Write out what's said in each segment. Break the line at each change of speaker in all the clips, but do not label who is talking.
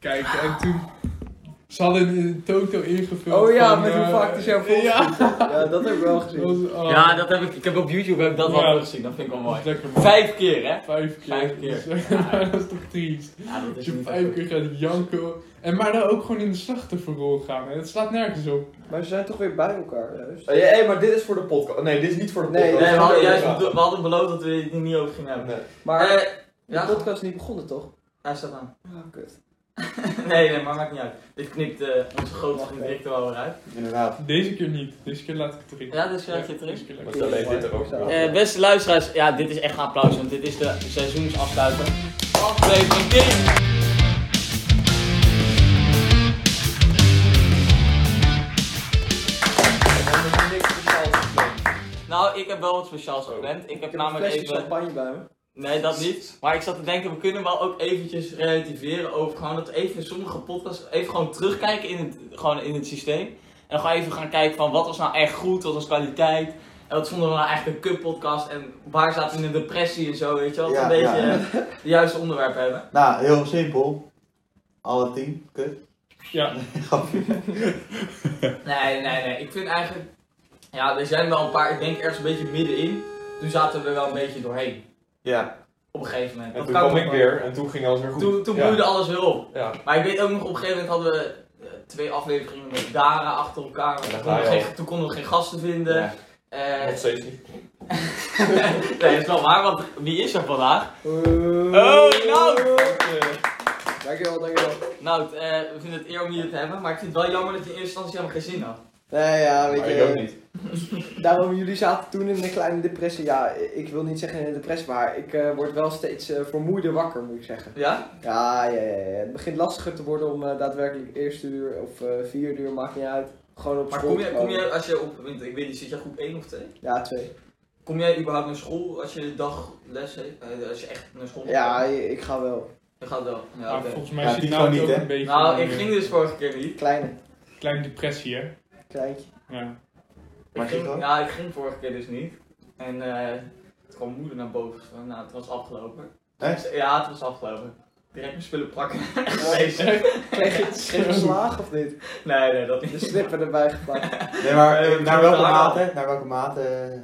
kijken. En toen... Ze hadden een Toto ingevuld
Oh ja,
van,
met hoe
eh,
vaak die zijn volgens
Ja,
Ja, dat heb ik wel
dat
gezien.
was, oh,
Ja, dat heb ik, ik heb op YouTube heb ik dat wel
Ja.
teruggezien, dat vind ik wel
dat is
mooi.
lekker man.
Vijf keer, hè?
Vijf keer. Dus,
Vijf keer.
Dat is-
Ja, ja.
dat is toch triest.
Ja, dat
Als
is
je
niet
vijf
echt-
keer gaat janken. En maar dan ook gewoon in de slachtofferrol gaan. En dat slaat nergens op.
Maar ze zijn toch weer bij elkaar, juist.
Hé, Oh, hey, maar dit is voor de podcast. Nee, dit is niet voor de
Nee,
podcast.
Nee, we hadden juist
Ja.
bedo- we hadden beloofd dat we het hier niet over gingen hebben.
Nee.
Maar
Eh,
de
ja,
podcast is niet begonnen, toch?
hij staat aan.
Ah, kut.
nee, nee, maar maakt niet uit. Dit knipt eh, onze grote vriend Rick er wel weer uit.
Inderdaad.
Deze keer niet. Deze keer laat ik het erin.
Ja, dus krijg je het erin.
deze keer laat ik
Maar
het
dan weet dit er ook wel.
Eh, beste luisteraars, ja, dit is echt een applaus, want dit is de seizoensafsluiter. Aflevering 10. Nou, ik heb wel wat speciaals gepland.
Ik
Ik heb
heb een
namelijk
flesje
even...
champagne bij me.
Nee, dat niet. Maar ik zat te denken, we kunnen wel ook eventjes relativeren over gewoon dat we even sommige podcasts even gewoon terugkijken in het, gewoon in het systeem. En dan gewoon even gaan kijken van wat was nou echt goed, wat was kwaliteit. En wat vonden we nou echt een kut podcast en waar zaten we in een depressie en zo, weet je wel. Dat we een
Ja,
beetje eh, de juiste onderwerp hebben.
Nou, heel simpel. Alle tien, kut.
Ja,
Nee, nee, nee. Ik vind eigenlijk, ja, er zijn wel een paar, ik denk ergens een beetje middenin. Toen zaten we er wel een beetje doorheen,
Ja.
op een gegeven moment.
En
Dat
toen
kan
kwam
ook
ik
wel.
weer en toen ging alles weer goed.
Toen, toen
Ja.
bloeide alles weer op.
Ja.
Maar ik weet ook nog, op een gegeven moment hadden we eh, twee afleveringen met Dara achter elkaar.
Ja,
Toen
daar
konden,
ga
we
je
geen, toen konden we geen gasten vinden.
Ja,
Eh,
Nog steeds niet.
nee, dat is wel waar, want wie is er vandaag?
Oh,
eh,
Nou,
Nout!
Dankjewel, dankjewel.
Nout, eh, we vinden het eer om je te hebben, maar ik vind het wel jammer dat je in eerste instantie helemaal geen zin had.
Nee, ja, weet
Maar
je.
ik ook niet.
Daarom, jullie zaten toen in een kleine depressie. Ja, ik wil niet zeggen in een depressie, maar ik eh, word wel steeds eh, vermoeider wakker, moet ik zeggen.
Ja?
Ja, ja, ja, ja. Het begint lastiger te worden om eh, daadwerkelijk eerste uur of eh, vierde uur, maakt niet uit. Gewoon op
Maar
school
kom
te
je, kom
komen.
je als je op, want ik weet niet, zit jij groep 1 of 2?
Ja, twee.
Kom jij überhaupt naar school als je de dag les heeft? Eh, als je echt naar school moet?
Ja, ik ga wel.
Dat gaat wel. Ja,
maar
oké.
volgens mij
Ja,
zit
die
nou
gewoon
ook
niet, hè?
een beetje...
Nou,
in
ik
een
ging dus vorige keer niet.
Kleine,
Kleine depressie, hè?
kleintje.
Ja.
Maar
ik ging,
Gigo?
ja, ik ging vorige keer dus niet. En eh toen kwam moeder naar boven. Van, nou, het was afgelopen.
Echt?
Dus, ja, het was afgelopen. Direct mijn spullen pakken. Wezen.
Kreeg je, kreeg je slaag of niet?
nee, nee, dat
De
niet.
slipper erbij gepakt.
Nee, maar
Eh,
eh, naar
we
welke
gaan
mate? Naar welke mate? eh,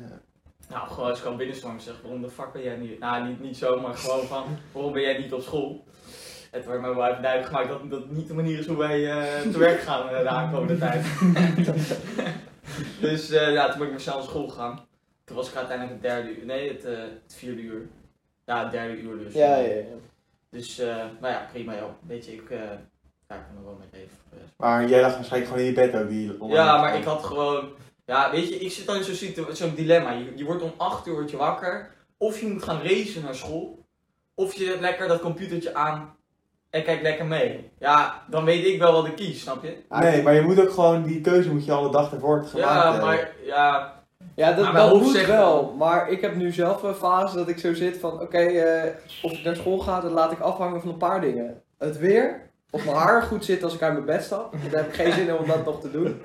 Nou, gewoon, het is gewoon binnenstorm. Zeg, waarom de fuck ben jij niet... Nou, niet, niet zo, maar gewoon van, waarom ben jij niet op school? Het werd mij wel even duidelijk gemaakt dat dat niet de manier is hoe wij eh, te werk gaan eh, de aankomende tijd. dus eh, ja, toen ben ik maar snel naar school gegaan. Toen was ik uiteindelijk het derde uur, nee, het, eh, het vierde uur. Ja, het derde uur dus.
Ja, ja, ja.
Dus, eh nou ja, prima joh. Weet je, ik, eh ja, ik kan er wel mee leven. Eh, voor de rest.
Maar jij lag waarschijnlijk gewoon in je bed ook. Die
Ja, maar ik had gewoon... Ja, weet je, ik zit dan in zo'n situ- zo'n dilemma. Je, je wordt om 8 uur word je wakker. Of je moet gaan racen naar school. Of je zet lekker dat computertje aan en kijkt lekker mee. Ja, dan weet ik wel wat ik kies, snap je?
Ah, Nee, maar je moet ook gewoon, die keuze moet je alle dag ervoor gemaakt eh.
Ja,
eh.
hebben.
maar ja,
Ja,
Maar
dat,
mijn
dat
hoofd
moet
zegt
wel.
wel.
Maar ik heb nu zelf een fase dat ik zo zit van... Oké, eh, of ik naar school ga, dat laat ik afhangen van een paar dingen. Het weer, of mijn haar goed zit als ik uit mijn bed stap. Want Daar heb ik geen zin in om dat nog te doen.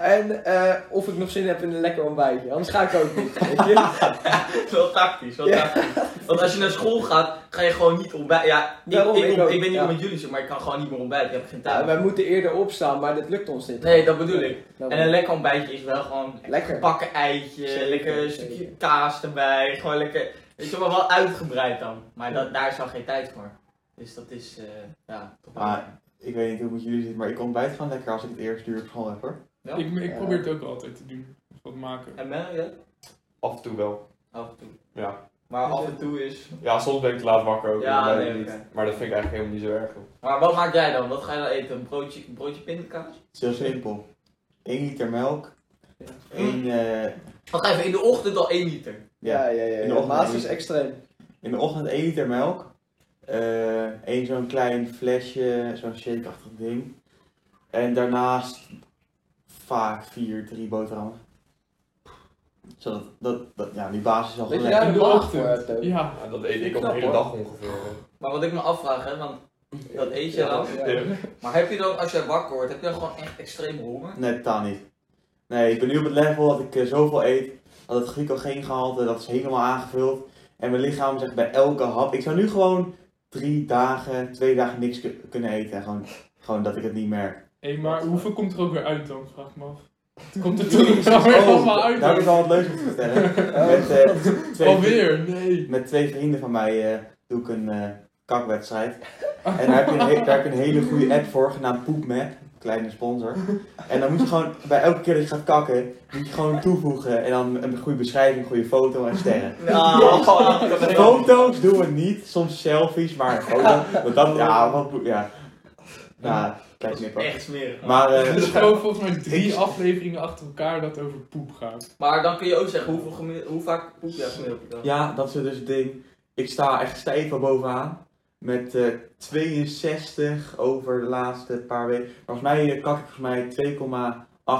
En eh, of ik nog zin heb in een lekker ontbijtje. Anders ga ik ook niet, weet je.
wel tactisch, wel
Ja.
tactisch. Want als je naar school gaat, ga je gewoon niet ontbijten. Ja, ik,
Daarom,
ik,
ik
ik,
ook,
weet niet
ja.
hoe met jullie zit, maar ik kan gewoon niet meer ontbijten. Ik heb geen
Ja,
tijd.
Nou, wij moeten eerder opstaan, maar dat lukt ons niet.
Nee, dat bedoel ik.
Nou,
En een lekker ontbijtje is wel gewoon
Lekker.
pakken eitje,
Zeker,
lekker een stukje
zeker.
kaas erbij, gewoon lekker, weet je maar wel uitgebreid dan. Maar dat, daar is dan geen tijd voor. Dus dat is, eh, ja, toch wel.
Maar- Ik weet niet hoe het met jullie zit, maar ik ontbijt gewoon lekker als ik het eerste uur op school heb hoor.
Ja.
Ik, ik probeer het ook altijd te doen. Wat maken.
En Mel, ja?
Af en toe wel.
Af en toe.
Ja.
Maar af en toe is...
Ja, soms ben ik te laat wakker ook.
Ja,
dan
nee,
weet ik
oké.
niet. Maar dat vind ik eigenlijk helemaal niet zo erg. joh.
Maar wat maak jij dan? Wat ga je dan eten? Een broodje, een broodje pindakaas?
Het is heel simpel. 1 liter melk.
Mm.
eh, 1,
Wacht even, in de ochtend al 1 liter.
ja.
Ja, ja, ja.
In de
ja.
ochtend
Maas is
eten.
extreem.
In de ochtend 1 liter melk. eh Eén zo'n klein flesje, zo'n shakeachtig ding. En daarnaast vaak vier, drie boterhammen. Zodat dat, dat, ja, die basis is al
Weet je
gelegd.
daar
In de
een laag voor
ochtend.
hebt ook.
Ja.
Ja, dat eet ik al de
Knap,
hele
hoor.
dag ongeveer. hoor.
Maar wat ik me afvraag, hè, want dat eet je
Ja,
dan.
ja.
Ja.
Maar heb je dan, als jij wakker wordt, heb je dan gewoon echt extreem honger?
Nee, totaal niet. Nee, ik ben nu op het level dat ik eh, zoveel eet, dat het glycogeengehalte, dat is helemaal aangevuld. En mijn lichaam zegt bij elke hap, ik zou nu gewoon drie dagen, twee dagen niks ku- kunnen eten. En Gewoon, gewoon dat ik het niet merk.
Hé, maar hoeveel komt er ook weer uit dan? Vraag ik me af. Het komt er toch wel
Oh,
weer allemaal uit
daar heb ik
dan?
wel wat leuks om te vertellen. Met, eh, twee,
Alweer? Nee.
met twee vrienden van mij eh, doe ik een eh, kakwedstrijd. En daar heb, je een, he- daar heb je een hele goede app voor, genaamd Poepmap. Kleine sponsor. En dan moet je gewoon, bij elke keer dat je gaat kakken, moet je gewoon toevoegen. En dan een goede beschrijving, een goede foto en sterren.
Nou, gewoon-
Foto's doen we niet, soms selfies, maar een foto. Want dat, ja, wat moet, ja. Nou, kijk
Dat is
knipper.
echt smerig. Maar,
Maar, eh,
Er is gewoon volgens mij
Ik-
drie afleveringen achter elkaar dat over poep gaat.
dan kun je ook zeggen hoeveel gemiddeld- hoe vaak poep je gemiddeld per dag.
ja, dat is dus het ding. Ik sta echt stijf al bovenaan. Met eh, 62 over de laatste paar weken. Volgens mij eh, kak ik volgens mij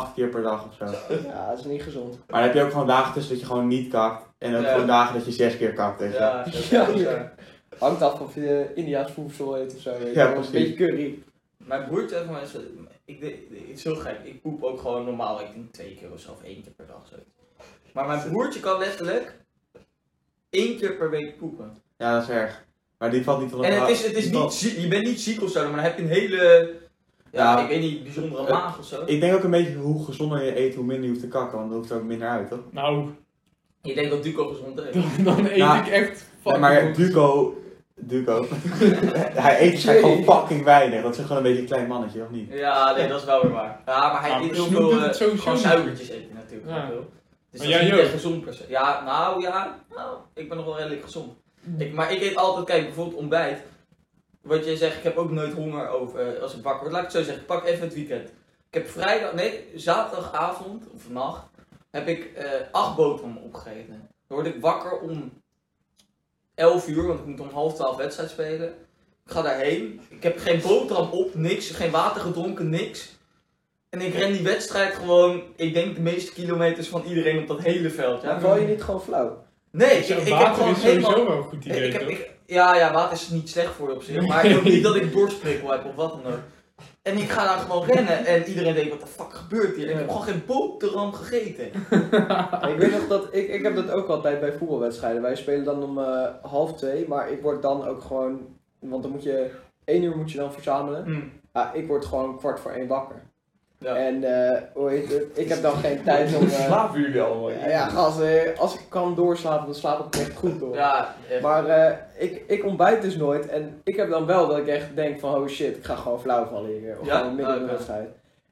2,8 keer per dag of zo.
Ja, dat is niet gezond.
Maar dan heb je ook gewoon dagen tussen dat je gewoon niet kakt. En ook
Ja.
gewoon dagen dat je 6 keer kakt. weet je.
Ja, dat is
Ja,
wel
ja.
zo.
Hangt af of je Indiaas voedsel eet of zo. weet je
Ja,
wel. Een
precies.
beetje curry.
Mijn broertje heeft mij zo- ik de- de- het is heel gek, ik poep ook gewoon normaal, ik denk twee keer of zo, of één keer per dag. Zo. Maar mijn broertje kan letterlijk één keer per week poepen.
Ja, dat is erg. Maar die valt niet onder
En
de
het is, het is niet ziek, je bent niet ziek of zo, maar dan heb je een hele, ja,
Ja.
ik weet niet, bijzondere
Eh,
maag of zo.
Ik denk ook een beetje hoe gezonder je eet, hoe minder je hoeft te kakken. Want dan hoeft er ook minder uit, toch?
Nou,
Ik denk dat Duco gezond is.
dan, dan eet
Nou,
Ja.
ik echt
Nee,
fucking
maar
goed.
Duco... Duco. hij eet waarschijnlijk gewoon fucking weinig. Dat is gewoon een beetje een klein mannetje, of niet?
Ja, nee, dat is wel weer waar. Ja, maar hij
Ja,
eet
maar
heel
Snoep
veel
doet het
eh,
sowieso
gewoon
niet.
suikertjes eten natuurlijk.
Ja.
heel veel.
Maar
Dus dat is
jij
niet echt
ook?
gezond per se. Ja, nou ja, nou, ik ben nog wel redelijk gezond.
Mm.
Ik, maar ik eet altijd, kijk, bijvoorbeeld ontbijt. Wat jij zegt, ik heb ook nooit honger over, eh, als ik wakker word. Laat ik het zo zeggen, ik pak even het weekend. Ik heb vrijdag, nee, zaterdagavond of nacht, heb ik eh, acht boterhammen opgegeten. Dan word ik wakker om 11 uur, want ik moet om half 12 wedstrijd spelen. Ik ga daarheen. Ik heb geen boterham op, niks. Geen water gedronken, niks. En ik ren die wedstrijd gewoon, ik denk de meeste kilometers van iedereen op dat hele veld.
Maar
Ja.
val je niet gewoon flauw?
Nee, ik,
Ja,
ik heb
water
gewoon
is sowieso
helemaal...
wel een goed idee,
ik heb,
toch?
ik- ja, ja, water is niet slecht voor je op zich. Maar ik wil niet dat ik borstprikkel heb of wat dan ook. En ik ga daar gewoon rennen en iedereen denkt, wat de fuck gebeurt hier? En ik heb gewoon geen boterham gegeten.
Ik weet nog dat, ik, ik heb dat ook altijd bij voetbalwedstrijden. Wij spelen dan om eh, half twee, maar ik word dan ook gewoon, want dan moet je, één uur moet je dan verzamelen.
Mm.
Ja, ik word gewoon kwart voor één wakker.
Ja.
En eh, hoe heet het, ik heb dan geen tijd om... eh,
Slapen jullie allemaal?
ja, ja, gast, eh, als ik kan doorslapen, dan slaap ik echt goed door.
Ja, echt.
Maar eh, ik, ik ontbijt dus nooit en ik heb dan wel dat ik echt denk van oh shit, ik ga gewoon flauw vallen hier. Of
Ja? Oh,
gewoon midden in de
Oké.
wedstrijd.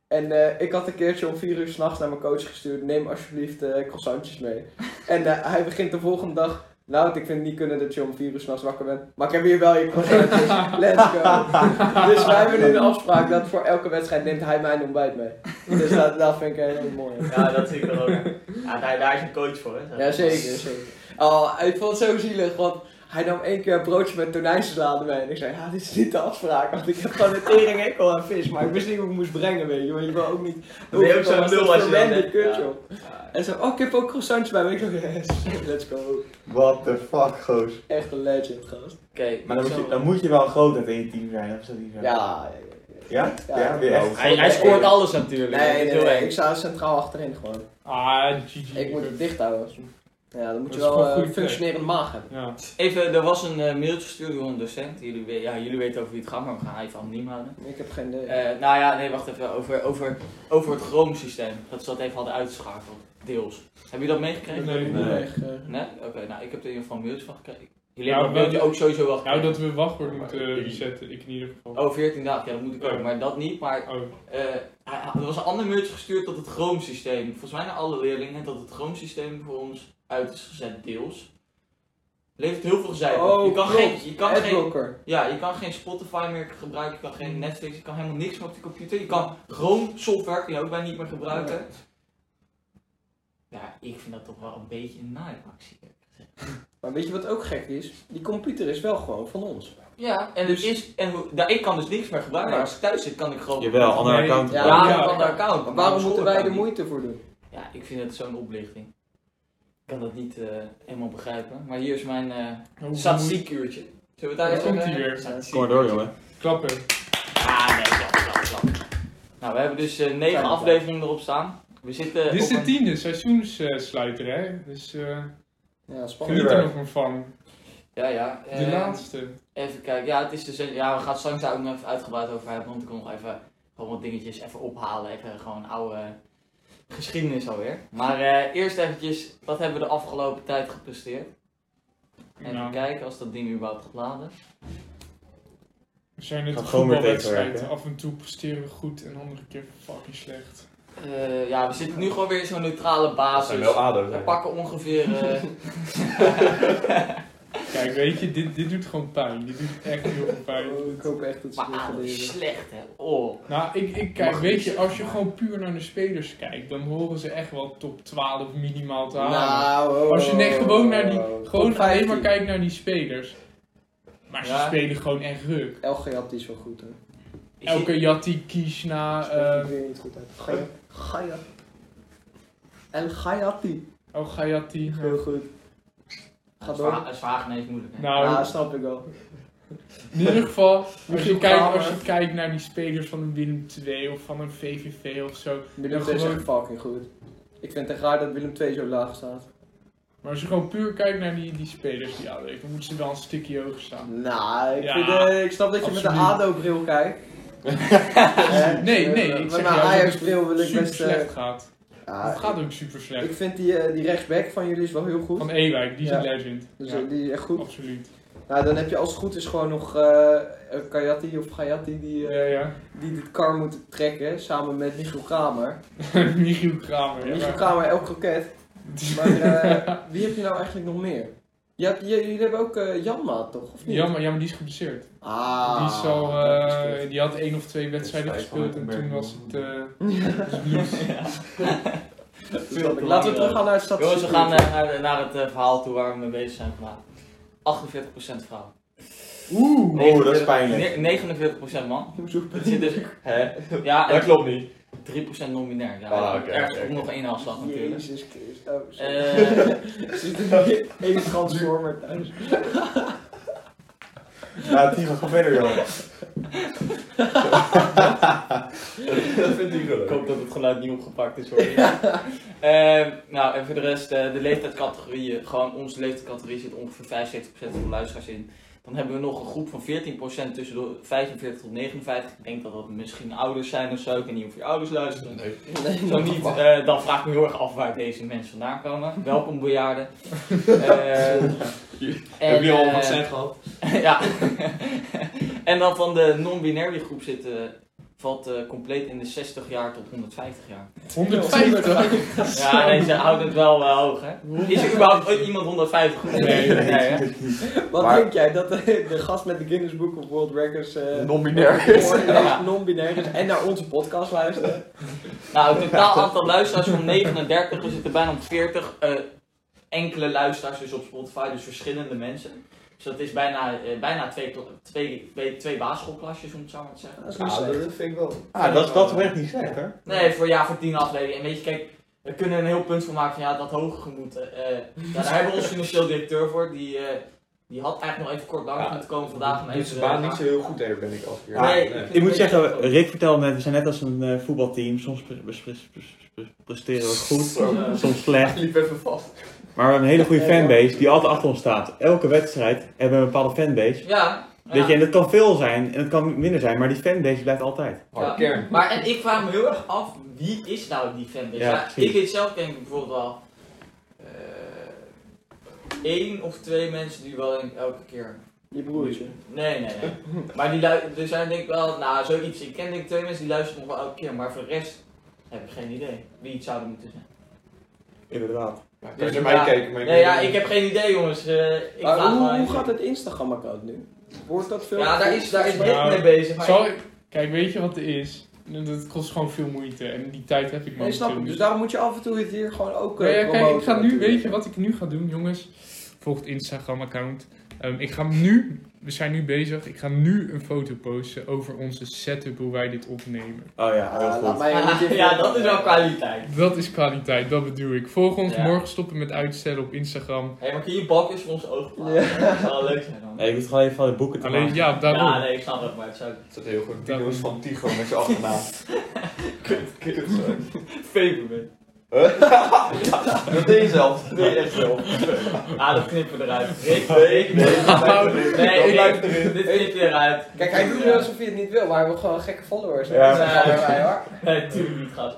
En eh, ik had een keertje om vier uur s'nachts naar mijn coach gestuurd, neem alsjeblieft eh, croissantjes mee. En eh, hij begint de volgende dag, nou ik vind het niet kunnen dat je om vier uur s'nachts wakker bent, maar ik heb hier wel je croissantjes, let's go. dus wij hebben nu een afspraak dat voor elke wedstrijd neemt hij mijn ontbijt mee. Dus dat, dat vind ik heel mooi.
Ja, dat zie ik er ook. Ja, daar, daar is een coach voor, hè?
Ja, zeker, zeker. Oh, ik vond het zo zielig, want hij nam één keer een broodje met tonijnsalade mee. En ik zei, ja, dit is niet de afspraak, want ik heb gewoon een tering enkel aan vis. Maar ik wist niet hoe ik moest brengen, weet je. Want je wil ook niet...
Dan ben je ook zo'n
Dat is
lul als je dat
verwende
hebt,
kut,
ja.
joh.
Ja,
En zo, oh, ik heb ook croissantjes bij me. Ik dacht, yes, let's go.
What the fuck, goos.
Echt een legend, gast.
Oké,
Maar dan moet,
zo.
je, dan moet je wel een grootheid in je team zijn, of is dat niet zo?
Ja, ja, ja.
Ja?
Ja.
Ja, weer echt.
Hij, hij scoort alles natuurlijk.
Nee, nee,
dat
nee,
wil hij.
ik sta centraal achterin gewoon.
Ah, GG.
Ik moet het dicht houden. Ja, dan moet je
Dat is
wel
gewoon
eh,
goed
een functionerende maag hebben.
Ja.
Even, er was een eh, mailtje gestuurd door een docent. Jullie, we- ja, jullie weten over wie het gaat, maar we gaan even anoniem houden.
Ik heb geen idee.
Eh, nou ja, nee, wacht even. Over, over, over het chroomsysteem. Dat ze dat even hadden uitgeschakeld. Deels. Hebben jullie dat meegekregen?
Nee.
Nee,
nee.
echt, eh,
Nee? Oké, nou, ik heb er in ieder geval een mailtje van gekregen. Jullie
Nou,
hebben dat mailtje
wel-
ook sowieso wel
Nou,
gekregen.
dat we wachtwoord
Maar
moeten
ik niet.
resetten, ik in ieder geval.
Oh, 14 dagen. Ja, dat moet ik ook.
Ja.
Maar dat niet. Maar
Oh.
eh, hij- hij- er was een ander mailtje gestuurd dat het chroomsysteem. Volgens mij naar alle leerlingen. Dat het chroomsysteem voor ons uit is gezet. Deels. Levert heel veel gezeik op.
Oh,
je kan
klopt.
geen... Je kan geen
Adblocker.
Ja, je kan geen Spotify meer gebruiken, je kan geen Netflix, je kan helemaal niks meer op de computer. Je kan Chrome software kun je ook bij niet meer gebruiken. Ja, ik vind dat toch wel een beetje een naaiactie.
Maar weet je wat ook gek is? Die computer is wel gewoon van ons.
Ja, en, het is, en hoe- ja, ik kan dus niks meer gebruiken.
Nee.
Als ik thuis zit, kan ik gewoon.
Jawel, ander
Nee.
account.
Ja.
Ja,
Ja.
een ander account.
Maar
maar
waarom
mijn
moeten wij er
schoolkant niet.
moeite voor doen?
Ja, ik vind het zo'n oplichting. Ik kan dat niet eh, helemaal begrijpen. Maar hier is mijn eh
Oh,
statistiekuurtje. Zullen we het daar
Daar
eh, eens over
komt hij
hebben?
weer.
Kom maar door, jongen.
Klappen.
Ah, nee, klap, klap, klap. Nou, we hebben dus eh, negen
Fijn,
afleveringen erop staan. We zitten.
Dit is
op
de
een-
tiende seizoenssluiter, hè? Dus eh
Ja,
geniet
spannend.
er
Vuurwerk.
nog maar van.
Ja, ja.
De
eh,
laatste.
Even kijken. Ja, het is dus, ja, we gaan het straks daar ook nog even uitgebreid over hebben. Want ik wil nog even gewoon wat dingetjes even ophalen. Even gewoon oude geschiedenis alweer. Maar eh, eerst eventjes, wat hebben we de afgelopen tijd gepresteerd? Even
Nou,
kijken als dat ding überhaupt gaat laden.
we zijn net
Gaat
een
gewoon weer
voetbalwedstrijd.
tegenwerken.
Af en toe presteren we goed en andere keer fucking slecht.
Eh, ja, we zitten nu gewoon weer in zo'n neutrale
Dat zijn
basis.
wel ADO.
We
zijn.
pakken ongeveer... eh,
Kijk, weet je, dit, dit doet gewoon pijn. Dit doet echt heel veel
Oh,
pijn.
ik hoop echt dat ze
maar
dit gaan
ADO is
leren.
slecht, hè. Oh.
Nou, ik, ik kijk,
Mag
weet
niet
je,
zeggen,
als je
maar-
gewoon puur naar de spelers kijkt, dan horen ze echt wel top 12 minimaal te halen.
Nou, oh,
Als je nee,
oh,
gewoon naar die,
oh, oh.
gewoon
Top
alleen maar
15.
kijkt naar die spelers. Maar ze
Ja.
spelen gewoon echt ruk.
Elgejat is wel goed, hè.
Ik zie-
Elke Jatti, Kishna,
Spreek
eh
ik weer niet goed uit. Gaya. Gaya. El Gayati.
Elga Jatti.
Heel goed. Ga
Zwa-
door.
Zwageningen is moeilijk, hè.
Nou,
Ja, snap ik wel.
in ieder geval, als je,
Michiel
kijkt,
Kramer.
als je kijkt naar die spelers van een Willem 2 of van een VVV of zo.
Willem
Ja,
2 is
gewoon-
echt fucking goed. Ik vind het echt raar dat Willem 2 zo laag staat.
Maar als je gewoon puur kijkt naar die, die spelers die hadden, dan moeten ze wel een stukje hoger staan.
Nou, ik,
Ja,
vind, eh, ik snap dat je met de
absoluut.
ADO-bril kijkt.
Nee, nee,
Eh,
ik
Met
zeg
mijn
jou dat
Ajax-bril wil
het
ik
super
best... eh,
slecht gaat.
ja,
Het gaat ook super slecht.
ik vind die, eh, die rechtsback van jullie is wel heel goed.
Van Ewijk, die is
Ja.
een legend.
Dus
Ja, Oh.
eh, die is echt goed.
absoluut.
Nou, dan heb je als het goed is gewoon nog eh eh, Kayati of Gayati die,
Ja,
eh,
ja.
die dit kar moeten trekken. Samen met Michiel Kramer.
Michiel Kramer.
Michiel
ja.
Kramer, elk kroket. Maar eh, wie heb je nou eigenlijk nog meer? Je hebt, je- jullie hebben ook eh, Janma, toch? Of niet?
Ja, maar, ja, maar die is geblesseerd.
Ah,
die, is al,
dat is
eh,
kut.
die had één of twee wedstrijden
Dat is vijf
gespeeld en toen
honderd
was het eh
Ja.
blues.
Snap ik. Laten we teruggaan naar het statistiek.
Jongens, we gaan eh, naar, naar het eh, verhaal toe waar we mee bezig zijn vandaag. 48% vrouw.
Oeh, oh, dat is pijnlijk.
Ne- 49% man. Dat zit dus,
Hè?
ja,
Dat
en
klopt niet.
3% non-binair. Ja,
Ah, oké,
ergens
oké,
komt
oké.
nog één afslag natuurlijk.
Jezus Christus. Oh,
Eh,
Zit er weer één transformer thuis?
Ja, Timo, ga verder, joh.
Dat vind ik
ik
gelukkig.
hoop dat het geluid niet opgepakt is hoor. Ehm, nou, en voor de rest, eh, de leeftijdscategorieën. Gewoon onze leeftijdscategorie zit ongeveer 75% van de luisteraars in. Dan hebben we nog een groep van 14% tussen de 45 tot 59. Ik denk dat dat misschien ouders zijn of zo. Ik weet niet of je ouders luisteren.
Nee.
Nee,
Zo niet, eh, dan vraag ik me heel erg af waar deze mensen vandaan komen. Welkom bejaarden. Eh, en,
Heb je al een
eh,
vaccin gehad?
ja. en dan van de non-binaire groep zitten, valt eh, compleet in de 60 jaar tot 150 jaar.
150?
Ja, nee, ze houden het wel eh, hoog, hè. Is er überhaupt ooit iemand 150 goed?
Nee, nee,
hè?
Wat
Maar-
denk jij? Dat de, de gast met de Guinness Book of World Records... eh,
Non-binair
non-binair- Non-binair is en naar onze podcast luisteren.
Nou, het totaal aantal luisteraars van 39, we zitten bijna op 40. eh, enkele luisteraars dus op Spotify, dus verschillende mensen. Dus dat is bijna, eh, bijna twee, kla- twee, twee, twee basisschoolklasjes, om het zo maar te zeggen.
Dat is niet
Ja,
slecht.
dat vind ik wel.
Ah, dat, dat is echt niet slecht, hè?
Nee, voor, ja, voor tien afleveringen. En weet je, kijk, we kunnen er een heel punt van maken van ja, dat hoger moet. eh, eh, ja, daar hebben we ons financieel directeur voor. Die, eh, die had eigenlijk nog even kort langs
Ja,
moeten komen vandaag. om
Doet
even,
zijn
eh,
baan niet zo heel goed, hè, ben ik afgekeerd.
Ja,
Nee, ik-
Ik moet zeggen, Rick vertelde net, we zijn net als een eh, voetbalteam. Soms pre- pre- pre- pre- presteren we goed,
Zo.
soms slecht.
Ik liep even vast.
Maar we hebben een hele goede fanbase die altijd achter ons staat. Elke wedstrijd hebben we een bepaalde fanbase.
Ja.
Weet
ja.
je, en dat kan veel zijn en het kan minder zijn, maar die fanbase blijft altijd.
Harde
Ja.
kern.
Maar en ik vraag me heel erg af, wie is nou die fanbase?
Ja,
Ja,
precies.
ik weet zelf denk ik bijvoorbeeld wel eh, één of twee mensen die wel denk ik elke keer.
Je broertje.
Nee, nee, nee. Maar die lu- er zijn denk ik wel, nou zoiets. Ik ken denk ik twee mensen die luisteren nog wel elke keer, maar voor de rest heb ik geen idee wie het zouden moeten zijn.
Inderdaad.
Ja, kan
Dus
je naar
ja.
mij kijken? maar
Nee, ja,
weet
ik heb geen idee jongens. Eh, ik
Maar
vraag
hoe,
me
hoe
even.
gaat het Instagram-account nu? Wordt dat veel?
Ja, daar is, daar is
Nou,
Rick mee bezig. Maar
Zal ik- Kijk, weet je wat er is? Dat kost gewoon veel moeite en die tijd heb ik
Nee,
momenteel
snap ik.
niet.
Dus daarom moet je af en toe het hier gewoon ook eh,
Nee, ja, kijk, ik
promoten
ga nu,
natuurlijk.
weet je wat ik nu ga doen, jongens? Volg het Instagram-account. Ehm, ik ga nu, we zijn nu bezig, ik ga nu een foto posten over onze setup, hoe wij dit opnemen.
Oh ja, heel
Ah, laat
goed.
mij niet in-
ja, dat is wel kwaliteit.
Dat is kwaliteit, dat bedoel ik. Volg ons,
Ja.
morgen stoppen met uitstellen op Instagram.
Hé, maar kun je balkjes voor ons ogen plaatsen? Dat zou wel leuk zijn dan.
Nee, ik moet gewoon even van de boeken te
Alleen,
maken.
ja, daarom.
Ja, nee, ik snap het, maar het zou
je. Dat is heel goed.
Dat-
Dino's van Tigo met zijn achternaam.
Kut, kut. Favorite.
Dat deed je zelf. Dat deed je echt zelf.
Ah, dat knippen we eruit. Rick,
Nee, nee, dat blijft erin.
Nee,
Dat blijft
Rick,
erin.
dit knip je eruit.
Kijk, hij doet nu alsof hij het niet wil, maar hij wil gewoon gekke followers.
Ja.
Dat zijn gewoon wij, hoor.
Nee, tuurlijk niet, gast.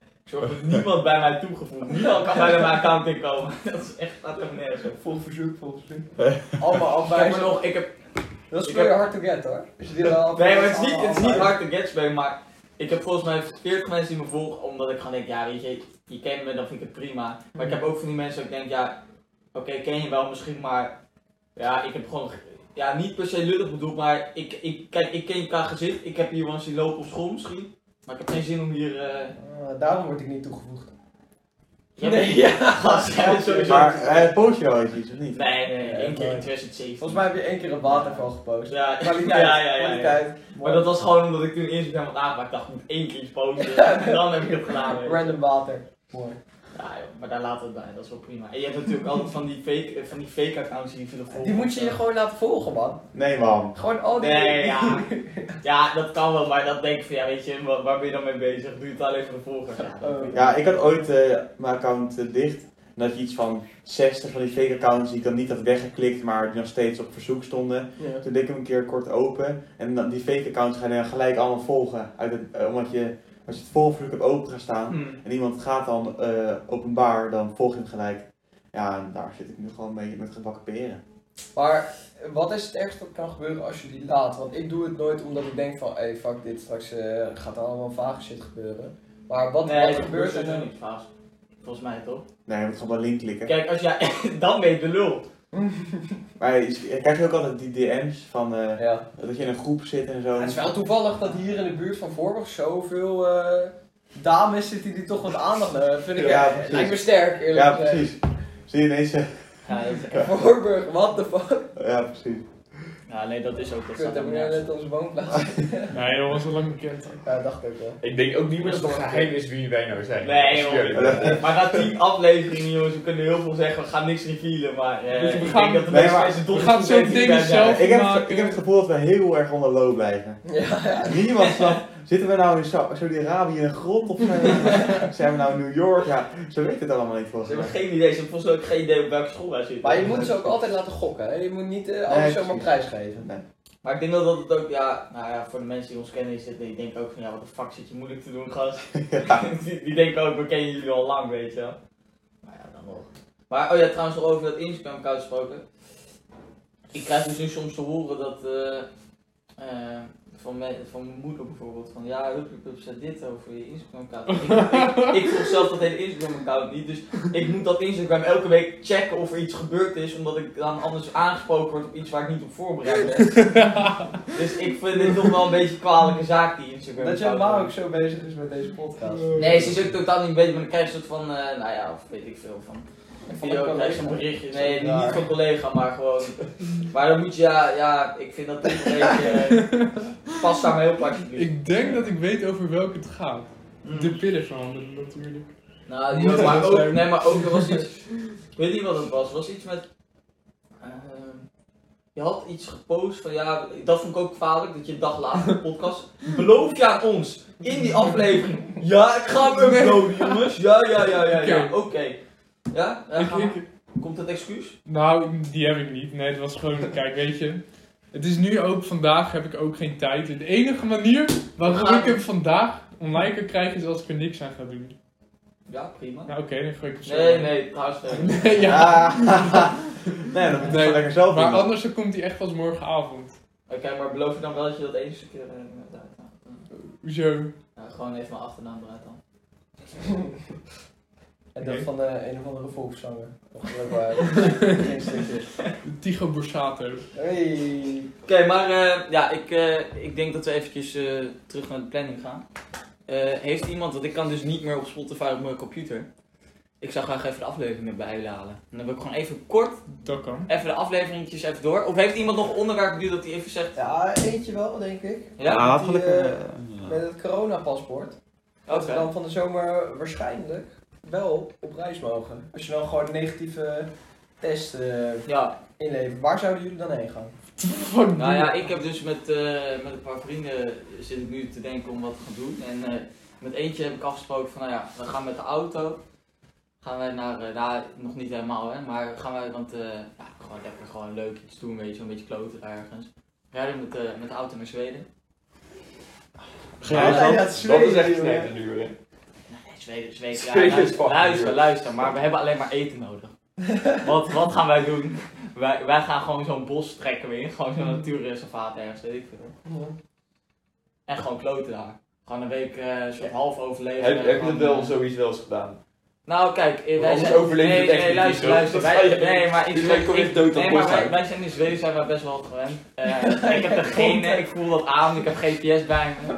Ik zorg dat niemand bij mij toegevoegd. Niemand kan bij mijn account inkomen. Dat is echt, gaat helemaal nergens op.
Volg verzoek, volg verzoek.
Allemaal
Ik heb
afwijzen.
er nog, ik heb,
Dat is
Ik
voor je
heb-
hard to get hoor. Als je die dan afwijst,
nee, maar het is niet,
allemaal
het is niet
afwijzen.
hard to get bij, maar ik heb volgens mij 40 mensen die me volgen, omdat ik gewoon denk, ja, weet je, je kent me, dan vind ik het prima. Maar ik heb ook van die mensen dat ik denk, ja, oké, ken je wel misschien, maar ja, ik heb gewoon, ja, niet per se lullig bedoeld, maar ik, ik, kijk, ik ken je qua gezicht, ik heb hier wel eens zien lopen op school misschien, maar ik heb geen zin om hier, eh,
Eh, daarom word ik niet toegevoegd.
jij bent- ja, gast, jij bent sowieso-
Maar eh, post je wel eens iets, of niet?
Nee, nee, één keer
Nee.
in 2007.
Volgens mij heb je één keer een waterval gepost.
Ja,
Kwaliteit,
ja, ja, ja, ja.
kwaliteit.
Maar dat was gewoon omdat ik toen eerst met hem had aangemaakt. Ik dacht, ik moet één keer iets posten. En dan heb ik het gedaan. weet je.
Random water. Mooi.
Ja, joh, maar daar laten we het bij. Dat is wel prima. En je hebt natuurlijk altijd van die fake, eh, van die fake accounts die je veel volgt.
Die moet je je gewoon laten volgen man.
Nee, man.
Gewoon al die
Nee, ja. Ja, dat kan wel, maar dat denk ik van ja, weet je, waar, waar ben je dan mee bezig? Doe je het alleen voor de volgers. Ja, dat-
Oh.
Ja, ik had ooit eh, mijn account eh, dicht. En dat je iets van 60 van die fake accounts die ik dan niet had weggeklikt, maar die nog steeds op verzoek stonden.
Ja.
Toen deed ik hem een keer kort open. En dan, die fake accounts ga je dan gelijk allemaal volgen. Uit het, eh, omdat je, als je het volgverzoek hebt open gaan staan.
Hmm.
En iemand gaat dan eh, openbaar, dan volg je hem gelijk. Ja, en daar zit ik nu gewoon mee met gebakken peren.
Maar eh, wat is het ergste dat kan gebeuren als je die laat? Want ik doe het nooit omdat ik denk van, hey fuck dit, straks eh, gaat er allemaal vage shit gebeuren. Maar wat,
nee,
wat
dat
gebeurt er
sowieso
dan?
niet vast. Volgens mij toch?
Nee, je moet gewoon wel link klikken.
Kijk, als jij. dan ben je de lul.
Maar je, je krijgt ook altijd die DM's van eh,
Ja.
dat je in een groep zit en zo.
Het is wel toevallig dat hier in de buurt van Voorburg zoveel eh, dames zitten die toch wat aandacht hebben. Vind ik
Ja,
eh,
precies.
lijkt me sterk eerlijk eh.
ja,
gezegd.
precies. Zie je ineens. eh,
Ja, dat is echt-
Voorburg, what the fuck?
ja, precies.
ja, nee, dat is ook. Dat
Kut,
staat
hebben we
helemaal nergens.
net onze woonplaats?
Nee, dat was al lang bekend.
Ja, dacht ik wel.
Ik denk ook niet meer dat het geheim is wie wij nou zijn.
Nee,
Dat is
joh.
eerlijk.
Maar na 10 afleveringen, jongens, we kunnen heel veel zeggen. We gaan niks revealen, maar eh,
Dus we
ik
gaan-
denk dat de
Nee,
meeste
maar-
mensen
we
toch
gaan zo'n dingen zelf-
Ik heb, het,
maken.
ik heb het gevoel dat we heel erg onder low blijven.
Ja,
Niemand snapt, zitten we nou in Sa- Saudi-Arabië in een grot of eh, zijn we nou in New York? Ja, ze weten het allemaal niet
Ze
volgens mij.
hebben geen idee, ze hebben volgens mij ook geen idee op welke school wij zitten.
maar je moet ze ook altijd laten gokken, hè? je moet niet eh, alles
Nee,
zomaar
precies.
prijsgeven.
Nee.
Maar ik denk dat dat het ook, ja, nou ja, voor de mensen die ons kennen, is dit, ik denk ook van, ja, wat de fuck zit je moeilijk te doen, gast.
Ja.
die, die denken ook, we kennen jullie al lang, weet je wel. Maar Nou ja, dan wel. Maar, oh ja, trouwens nog over dat Instagram-account gesproken. Ik krijg dus nu soms te horen dat, eh, eh, van, me, van mijn moeder bijvoorbeeld, van ja, hup, hup, hup, zet dit over je Instagram-account. ik, ik, ik volg zelf dat hele Instagram-account niet, dus ik moet dat Instagram elke week checken of er iets gebeurd is, omdat ik dan anders aangesproken word op iets waar ik niet op voorbereid ben. dus ik vind dit toch wel een beetje een kwalijke zaak, die Instagram.
Dat jouw ma ook zo bezig is met deze podcast.
Nee, ze is ook totaal niet bezig, maar dan krijg je een soort van, eh, nou ja, of weet ik veel van. Een
Van
video
een
krijg je een
collega.
berichtje. Nee,
Ja.
niet van collega, maar gewoon. Maar dan moet je, ja, ja ik vind dat toch een beetje. eh, pas daarmee op alsjeblieft.
Ik denk dat ik weet over welke het gaat.
Mm.
De pillen verhandelen natuurlijk.
Nou,
Moet
die, maar
dat
ook,
zijn?
nee, maar ook, er was iets, ik weet niet wat het was, er was iets met, ehm, je had iets gepost van, ja, dat vond ik ook kwalijk, dat je een dag later een podcast, beloof je aan ons, in die aflevering, ja, ik ga hem uploaden, jongens, ja, ja, ja, ja, ja, oké.
Oké.
Ja, ja
Ik-
gaan we-
ik-
komt het excuus?
nou, die heb ik niet. Nee, het was gewoon, kijk, weet je. Het is nu ook, vandaag heb ik ook geen tijd. De enige manier waarop
Ah.
ik hem vandaag online kan krijgen is als ik er niks aan ga doen.
Ja, prima.
Nou oké, dan gooi ik het zo.
Nee, nee, trouwens, nee.
Nee, ja.
Ah, nee, dat moet je
Nee,
gewoon lekker zelf
Maar
doen.
anders dan komt hij echt pas morgenavond.
Oké, maar beloof je dan wel dat je dat eens een keer eh, eruit haalt?
Hoezo?
Nou, gewoon even mijn achternaam eruit dan.
En dat
Oké.
van eh, een of andere volkszanger. Of ook waar. Geen stukje.
Tigo Borsato.
Hey.
Oké, maar eh, ja, ik, eh, ik denk dat we eventjes eh, terug naar de planning gaan. Eh, heeft iemand, want ik kan dus niet meer op Spotify op mijn computer. Ik zou graag even de aflevering erbij willen halen. En dan wil ik gewoon even kort,
Dat kan.
even de afleveringetjes even door. Of heeft iemand nog een onderwerp nu dat hij even zegt?
Ja, eentje wel, denk ik.
Ja?
Ja, had
die,
gelukkig,
eh,
eh,
Met het coronapaspoort. Dat we
Oké.
dan van de zomer waarschijnlijk wel op reis mogen. Als je dan gewoon een negatieve test eh,
Ja,
inlevert. Waar zouden jullie dan heen gaan?
Fuck
nou ja, ik heb dus met, eh, met een paar vrienden zit ik nu te denken om wat te gaan doen. En eh, met eentje heb ik afgesproken van, nou ja, we gaan met de auto. gaan wij naar, eh, nou, nog niet helemaal hè, maar gaan wij, want eh, ja, gewoon lekker gewoon leuk iets doen, weet je, wel, een beetje kloten ergens. Rijden met, eh, met de auto naar Zweden.
Ja,
ja,
dat, dat is echt net nu, hè.
Nee, Zweden, Zweden, ja,
Zweden is
luister,
fucking
luister,
duur.
luister, maar we hebben alleen maar eten nodig. wat, wat gaan wij doen? Wij, wij gaan gewoon zo'n bos trekken weer in, gewoon zo'n natuurreservaat ergens, weet ik veel. En gewoon kloten daar. Gewoon een week eh soort half overleven.
Heb, heb je
Gewoon,
dat wel
eh,
zoiets wel eens gedaan?
Nou, kijk, eh, wij
anders
zijn...
overleef je
nee,
het echt
nee,
niet,
luister,
joh.
luister.
Dat
Wij,
ga je-
nee, maar in
Dus wij
Zweden...
kom je dood dat
Nee,
bos
maar
uit.
wij, wij zijn in Zweden zijn wij best wel wat gewend. Eh, ik heb de genen, ik voel dat aan, ik heb GPS bij me.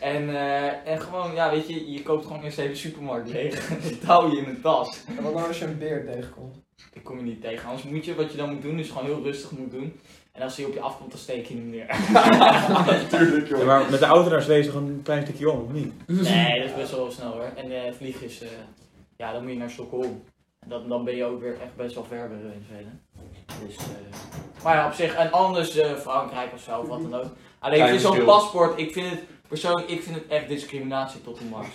En, eh, en gewoon, ja, weet je, je koopt gewoon eerst even de supermarkt leeg. Dat touw je in de tas.
En wat nou als je een beer tegenkomt?
Ik kom je niet tegen. Anders moet je, wat je dan moet doen, is gewoon heel rustig moet doen. En als hij op je afkomt, dan steek je hem neer.
Tuurlijk,
Ja, maar met de auto naar Zweden is gewoon een klein stukje om, of niet?
Nee, dat is best wel snel hoor. En eh vliegen is, eh, ja, dan moet je naar Stockholm. En dat, dan ben je ook weer echt best wel ver bij in Zweden. Dus, eh, maar ja, op zich, en anders eh, Frankrijk of zo, of wat dan ook. Alleen
Klein
het is zo'n
verschil.
paspoort, ik vind het, persoonlijk, ik vind het echt discriminatie tot de max.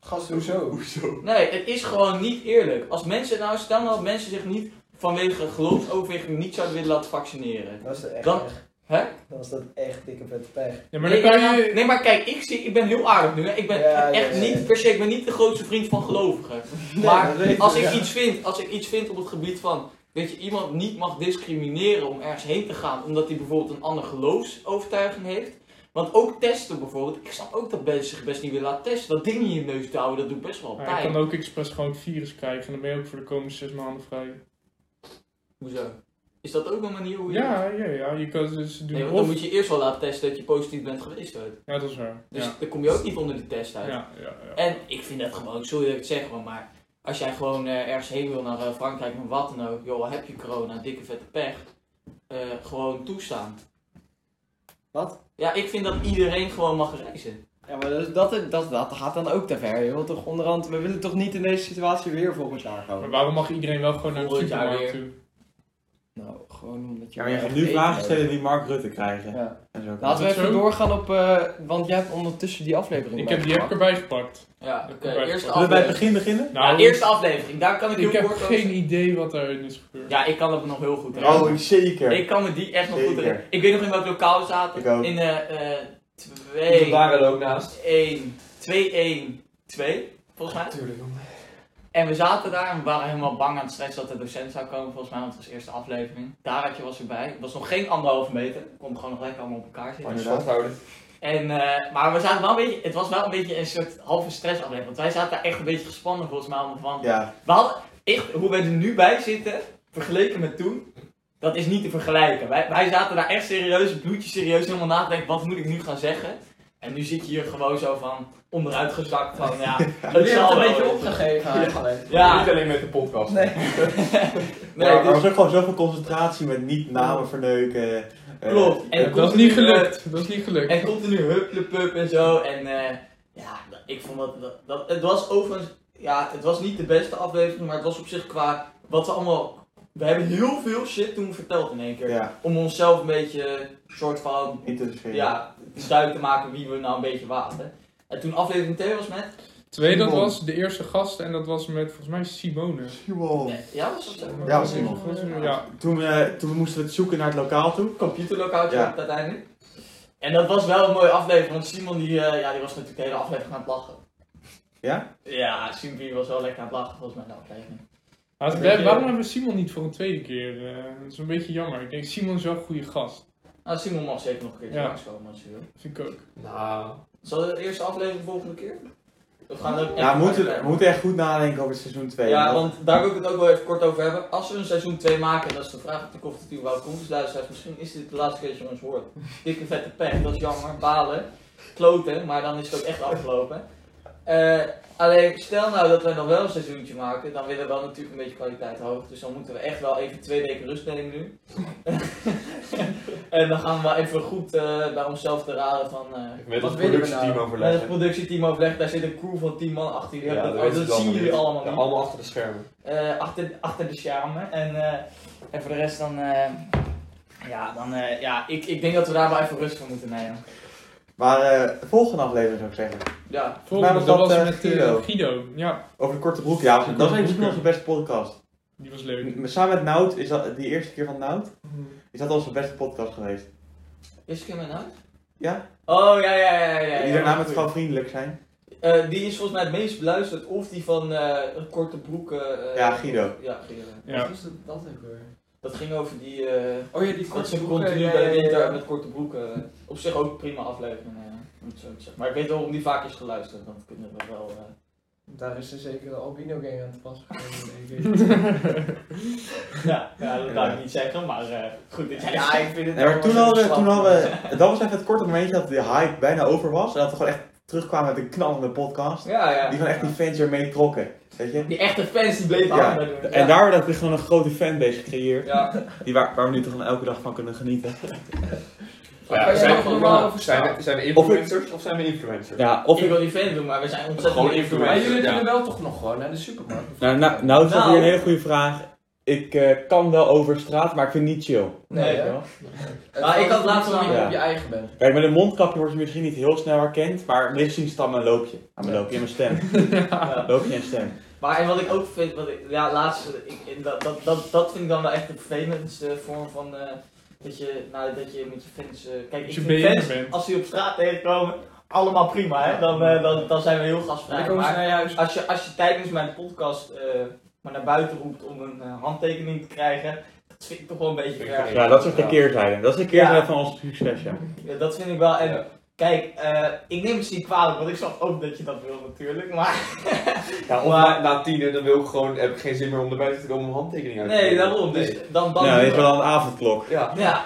Gast, hoezo?
Hoezo?
Nee, het is gewoon niet eerlijk. Als mensen, nou stel nou dat mensen zich niet vanwege geloofsoverweging niet zouden willen laten vaccineren.
Dat is echt
Dan-
pech.
Hè?
Dan is dat echt dikke vette pech.
Ja, maar
nee,
dan kan
ja,
je...
nee, maar kijk, ik, zie, ik ben heel aardig nu. Hè. Ik ben
Ja, ja,
echt
ja, ja.
niet per se, ik ben niet de grootste vriend van gelovigen.
Nee,
maar
dat weet ik,
als ik,
ja.
iets vind, als ik iets vind op het gebied van dat je iemand niet mag discrimineren om ergens heen te gaan, omdat hij bijvoorbeeld een andere geloofsovertuiging heeft. Want ook testen bijvoorbeeld, ik snap ook dat mensen zich best niet willen laten testen. Dat ding in je neus te houden, dat doet best wel
Maar je
pijn.
kan ook expres gewoon het virus krijgen en dan ben je ook voor de komende zes maanden vrij.
Hoezo? Is dat ook een manier hoe je...
Ja, ja, ja. Je kan het dus doen.
Nee, want dan
of...
moet je eerst wel laten testen dat je positief bent geweest ooit.
Ja, dat is waar.
Dus
ja.
dan kom je ook niet onder die test uit.
Ja, ja, ja.
En ik vind dat gewoon, sorry dat ik het zeg, maar, maar als jij gewoon eh, ergens heen wil naar eh, Frankrijk of wat dan ook, joh, heb je corona, dikke vette pech, eh, gewoon toestaan.
Wat?
Ja, ik vind dat iedereen gewoon mag reizen.
Ja, maar dat, dat, dat, dat gaat dan ook te ver. Je wilt toch onderhand, we willen toch niet in deze situatie weer volgend jaar
Maar
komen?
waarom mag iedereen wel gewoon naar de
Volgend jaar
supermarkt
weer.
toe?
Nou, gewoon omdat je...
Ja, maar je gaat
echt
nu
eten
vragen
hebt.
stellen die Mark Rutte krijgen.
Ja.
En zo.
Laten we
Is dat
even
zo?
doorgaan op, eh, want jij hebt ondertussen die aflevering
Ik heb die heb ik
bijgepakt.
erbij gepakt.
Ja, oké,
Correct.
eerste
Zullen we bij het
aflevering.
begin beginnen?
Ja, eerste aflevering, daar kan ik heel
Nou, ik heb
kort over
geen
zeggen.
idee wat daarin is gebeurd.
Ja, ik kan dat nog heel goed herinneren.
Oh, zeker.
Ik kan me die echt nog goed
Zeker.
herinneren. Ik weet nog in welk lokaal we zaten.
Ik ook.
In eh eh
We
2...
waren er ook naast.
1, 2, 1, 2, volgens mij.
Tuurlijk.
En we zaten daar en we waren helemaal bang aan het stress dat de docent zou komen, volgens mij, want het was de eerste aflevering. Daaratje was erbij. Het was nog geen anderhalve meter. We konden gewoon nog lekker allemaal op elkaar zitten.
Maar inderdaad.
Stadhouder.
En, eh, maar we zaten wel een beetje, het was wel een beetje een soort halve stressaflevering. Want wij zaten daar echt een beetje gespannen, volgens mij. Want want
Ja,
we hadden echt, hoe wij er nu bij zitten, vergeleken met toen, dat is niet te vergelijken. Wij, wij zaten daar echt serieus, bloedje serieus, helemaal na te denken, wat moet ik nu gaan zeggen? En nu zit je hier gewoon zo van, onderuitgezakt van, ja, het
Jullie hebben
zal
het
wel.
een beetje opgegeven eigenlijk.
Ja,
Niet alleen met de podcast.
Nee.
nee,
nee,
maar
dus,
er was ook gewoon zoveel concentratie met niet namen verneuken. eh,
klopt. En
dat is
continu,
niet gelukt. Dat is niet gelukt.
En continu hupplepup en zo. En eh, ja, dat- ik vond dat, dat, dat- Het was overigens. Ja, het was niet de beste aflevering, maar het was op zich qua. Wat we allemaal. We hebben heel veel shit toen verteld in één keer.
Ja,
Om onszelf een beetje. eh, soort van.
in te sfeer.
Ja, duidelijk te maken wie we nou een beetje waren. En toen aflevering 2 was met.
Twee, dat
Simon.
was de eerste gast en dat was met volgens mij Simone.
Simon.
Nee, ja, was dat zo?
Ja, was Simon.
Ja.
Toen, eh, toen moesten we het zoeken naar het lokaal toe.
computerlockoutje
Ja.
had het uiteindelijk. En dat was wel een mooie aflevering, want Simon die, eh, ja, die was natuurlijk de hele aflevering aan het lachen.
Ja?
Ja, Simpy was wel lekker aan het lachen volgens mij Nou, in de aflevering.
Maar
Weet je-
waarom hebben we Simon niet voor een tweede keer? eh, dat is een beetje jammer. Ik denk, Simon is wel een goede gast.
Nou, Simon mag zeker nog een keer
Ja.
langskomen als je wil.
Vind ik ook.
Nou,
Zal de eerste aflevering de volgende keer? We gaan er
Ja, we moeten, we moeten echt goed nadenken over seizoen 2.
Ja, want daar wil ik het ook wel even kort over hebben. Als we een seizoen 2 maken, en dat is de vraag natuurlijk of het überhaupt komt, dus luisteraars, misschien is dit de laatste keer dat je ons hoort. Dikke vette pech, dat is jammer, balen, kloten, maar dan is het ook echt afgelopen. Eh, alleen, stel nou dat wij nog wel een seizoentje maken, dan willen we wel natuurlijk een beetje kwaliteit hoog, dus dan moeten we echt wel even twee weken rust nemen nu. en dan gaan we wel even goed eh, bij onszelf te raden van... eh,
met
Wat
het
willen we
productieteam
nou?
met het
overleggen.
productieteam overleg, daar zit een crew van 10 man achter jullie.
Ja, oh,
dat
weten
dat
ze
zien jullie allemaal
Ja,
niet.
allemaal achter de schermen.
Eh, achter, achter de schermen. En, eh, en voor de rest dan... eh, ja, dan, eh, ja ik, ik denk dat we daar wel even rust voor moeten nemen.
Maar eh, volgende aflevering zou ik zeggen.
Ja.
Maar
Volgende,
dat
dat
was,
was
eh,
met eh,
Guido.
Guido. Ja,
Over de korte broek, ja.
Korte
dat is misschien
broeken.
onze beste podcast.
die was leuk.
M- Samen met Nout, is dat, die eerste keer van Nout, is dat onze beste podcast geweest.
Is ik in mijn huis?
Ja.
Oh, ja, ja, ja, ja. ja,
die daarna
ja,
met
goed.
vrouw vriendelijk zijn.
Eh, die is volgens mij het meest beluisterd, of die van eh, een korte broeken. eh,
Ja, Guido.
Ja, Guido.
Ja.
Wat was dat- dat ook weer?
Dat ging over die. eh
Oh ja, die
dat
korte
ze
broeken.
continu
ja,
bij
ja, ja.
winter met korte broeken. Op zich ook prima aflevering, eh, om het zo te zeggen. Maar ik weet wel om die vaak is geluisterd, dan kunnen we wel. eh,
Daar is er zeker de albino gang aan te pas gekomen. denk ik.
ja, ja, dat kan ik niet zeggen, maar eh, goed dat jij
Ja, ik vind het
Nee, maar
wel
toen
wel
hadden,
zo
toen
schattig.
hadden we, dat was even het korte momentje dat de hype bijna over was. En dat we gewoon echt terugkwamen met een knallende podcast.
Ja, ja.
Die gewoon echt die fans ermee trokken. Weet je?
Die echte fans die bleven
Ja,
aan doen.
En daar werd gewoon een grote fanbase gecreëerd.
Ja,
Die waar, waar we nu toch gewoon elke dag van kunnen genieten.
Kan jij nog normaal over
zijn, we, zijn we influencers of, zijn we influencers?
Ja, of
ik wil die fan doen, maar we zijn ontzettend
Gewoon
Maar
influencer.
jullie
Ja.
kunnen wel toch nog gewoon naar de supermarkt?
Nou, nou, nou is dat
Nou.
weer een hele goede vraag. Ik eh, kan wel over straat, maar ik vind het niet chill.
Nee,
Nee,
Weet je
hè?
wel?
Het
Maar ik
valt
had laatst
niet
wel-
samen
Ja.
op je eigen bent.
Kijk, met een mondkapje wordt je misschien niet heel snel herkend, maar misschien staat mijn loopje. Aan mijn
Ja.
loopje en mijn stem.
Ja.
Loopje en stem.
Maar en wat ik ook vind, wat ik, ja, laatst, ik, en dat, dat, dat, dat vind ik dan wel echt de vervelendste vorm van. eh, dat, je, nou, dat je met je fans. eh, kijk,
Als
ik
je
vind
BN'er
fans,
bent.
als die op straat tegenkomen, allemaal prima, hè? Dan, eh, dan, dan zijn we heel
Dan
gastvrij.
komen ze
Maar
naar je huis.
als je, als je tijdens mijn podcast eh, maar naar buiten roept om een eh, handtekening te krijgen, dat vind ik toch wel een beetje
Ja,
ver.
Ja, dat is ook de keerzijde. Dat is de keerzijde
Ja.
van ons succes, ja.
Ja, dat vind ik wel. En
Ja.
kijk, eh, ik neem het niet kwalijk, want ik snap ook dat je dat wil natuurlijk. Maar
Ja, of
Maar-
na, na tien uur, dan wil ik gewoon, heb ik geen zin meer om naar buiten te komen om handtekening uit te
nee,
nemen.
daarom. Dus
Nee.
dan, dan
Nou, dit is wel een avondklok.
Ja.
Ja,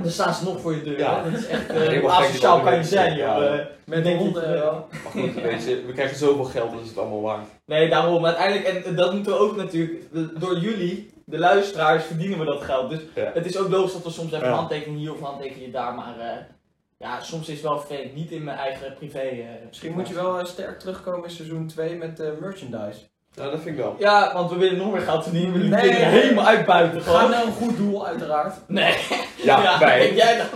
dan staan ze nog voor je deur.
Ja.
hè. Dat is echt.
Ja,
eh
ik
hoe
was gek
asociaal
dat
kan je
ik
zijn,
dat
joh.
weet.
Eh,
Met de
denk
hond.
ik,
eh,
eh,
wel.
Maar goed, weet je, we krijgen zoveel geld, dus is het allemaal waard.
Nee, daarom. Uiteindelijk, en dat moeten we ook natuurlijk. de- door jullie, de luisteraars, verdienen we dat geld. Dus
Ja.
het is ook logisch dat we soms even
Ja.
een handtekening hier of een handtekening daar. Maar eh, ja, soms is het wel vervelend. Niet in mijn eigen privé. eh,
Misschien moet je wel eh, sterk terugkomen in seizoen 2 met eh, merchandise.
Nou, dat vind ik wel.
Ja, want we willen nog meer geld verdienen. We willen
Nee.
kinderen helemaal uitbuiten.
We gaan
Gewoon.
naar nou een goed doel, uiteraard.
Nee,
Ja,
denk
wij.
jij dat?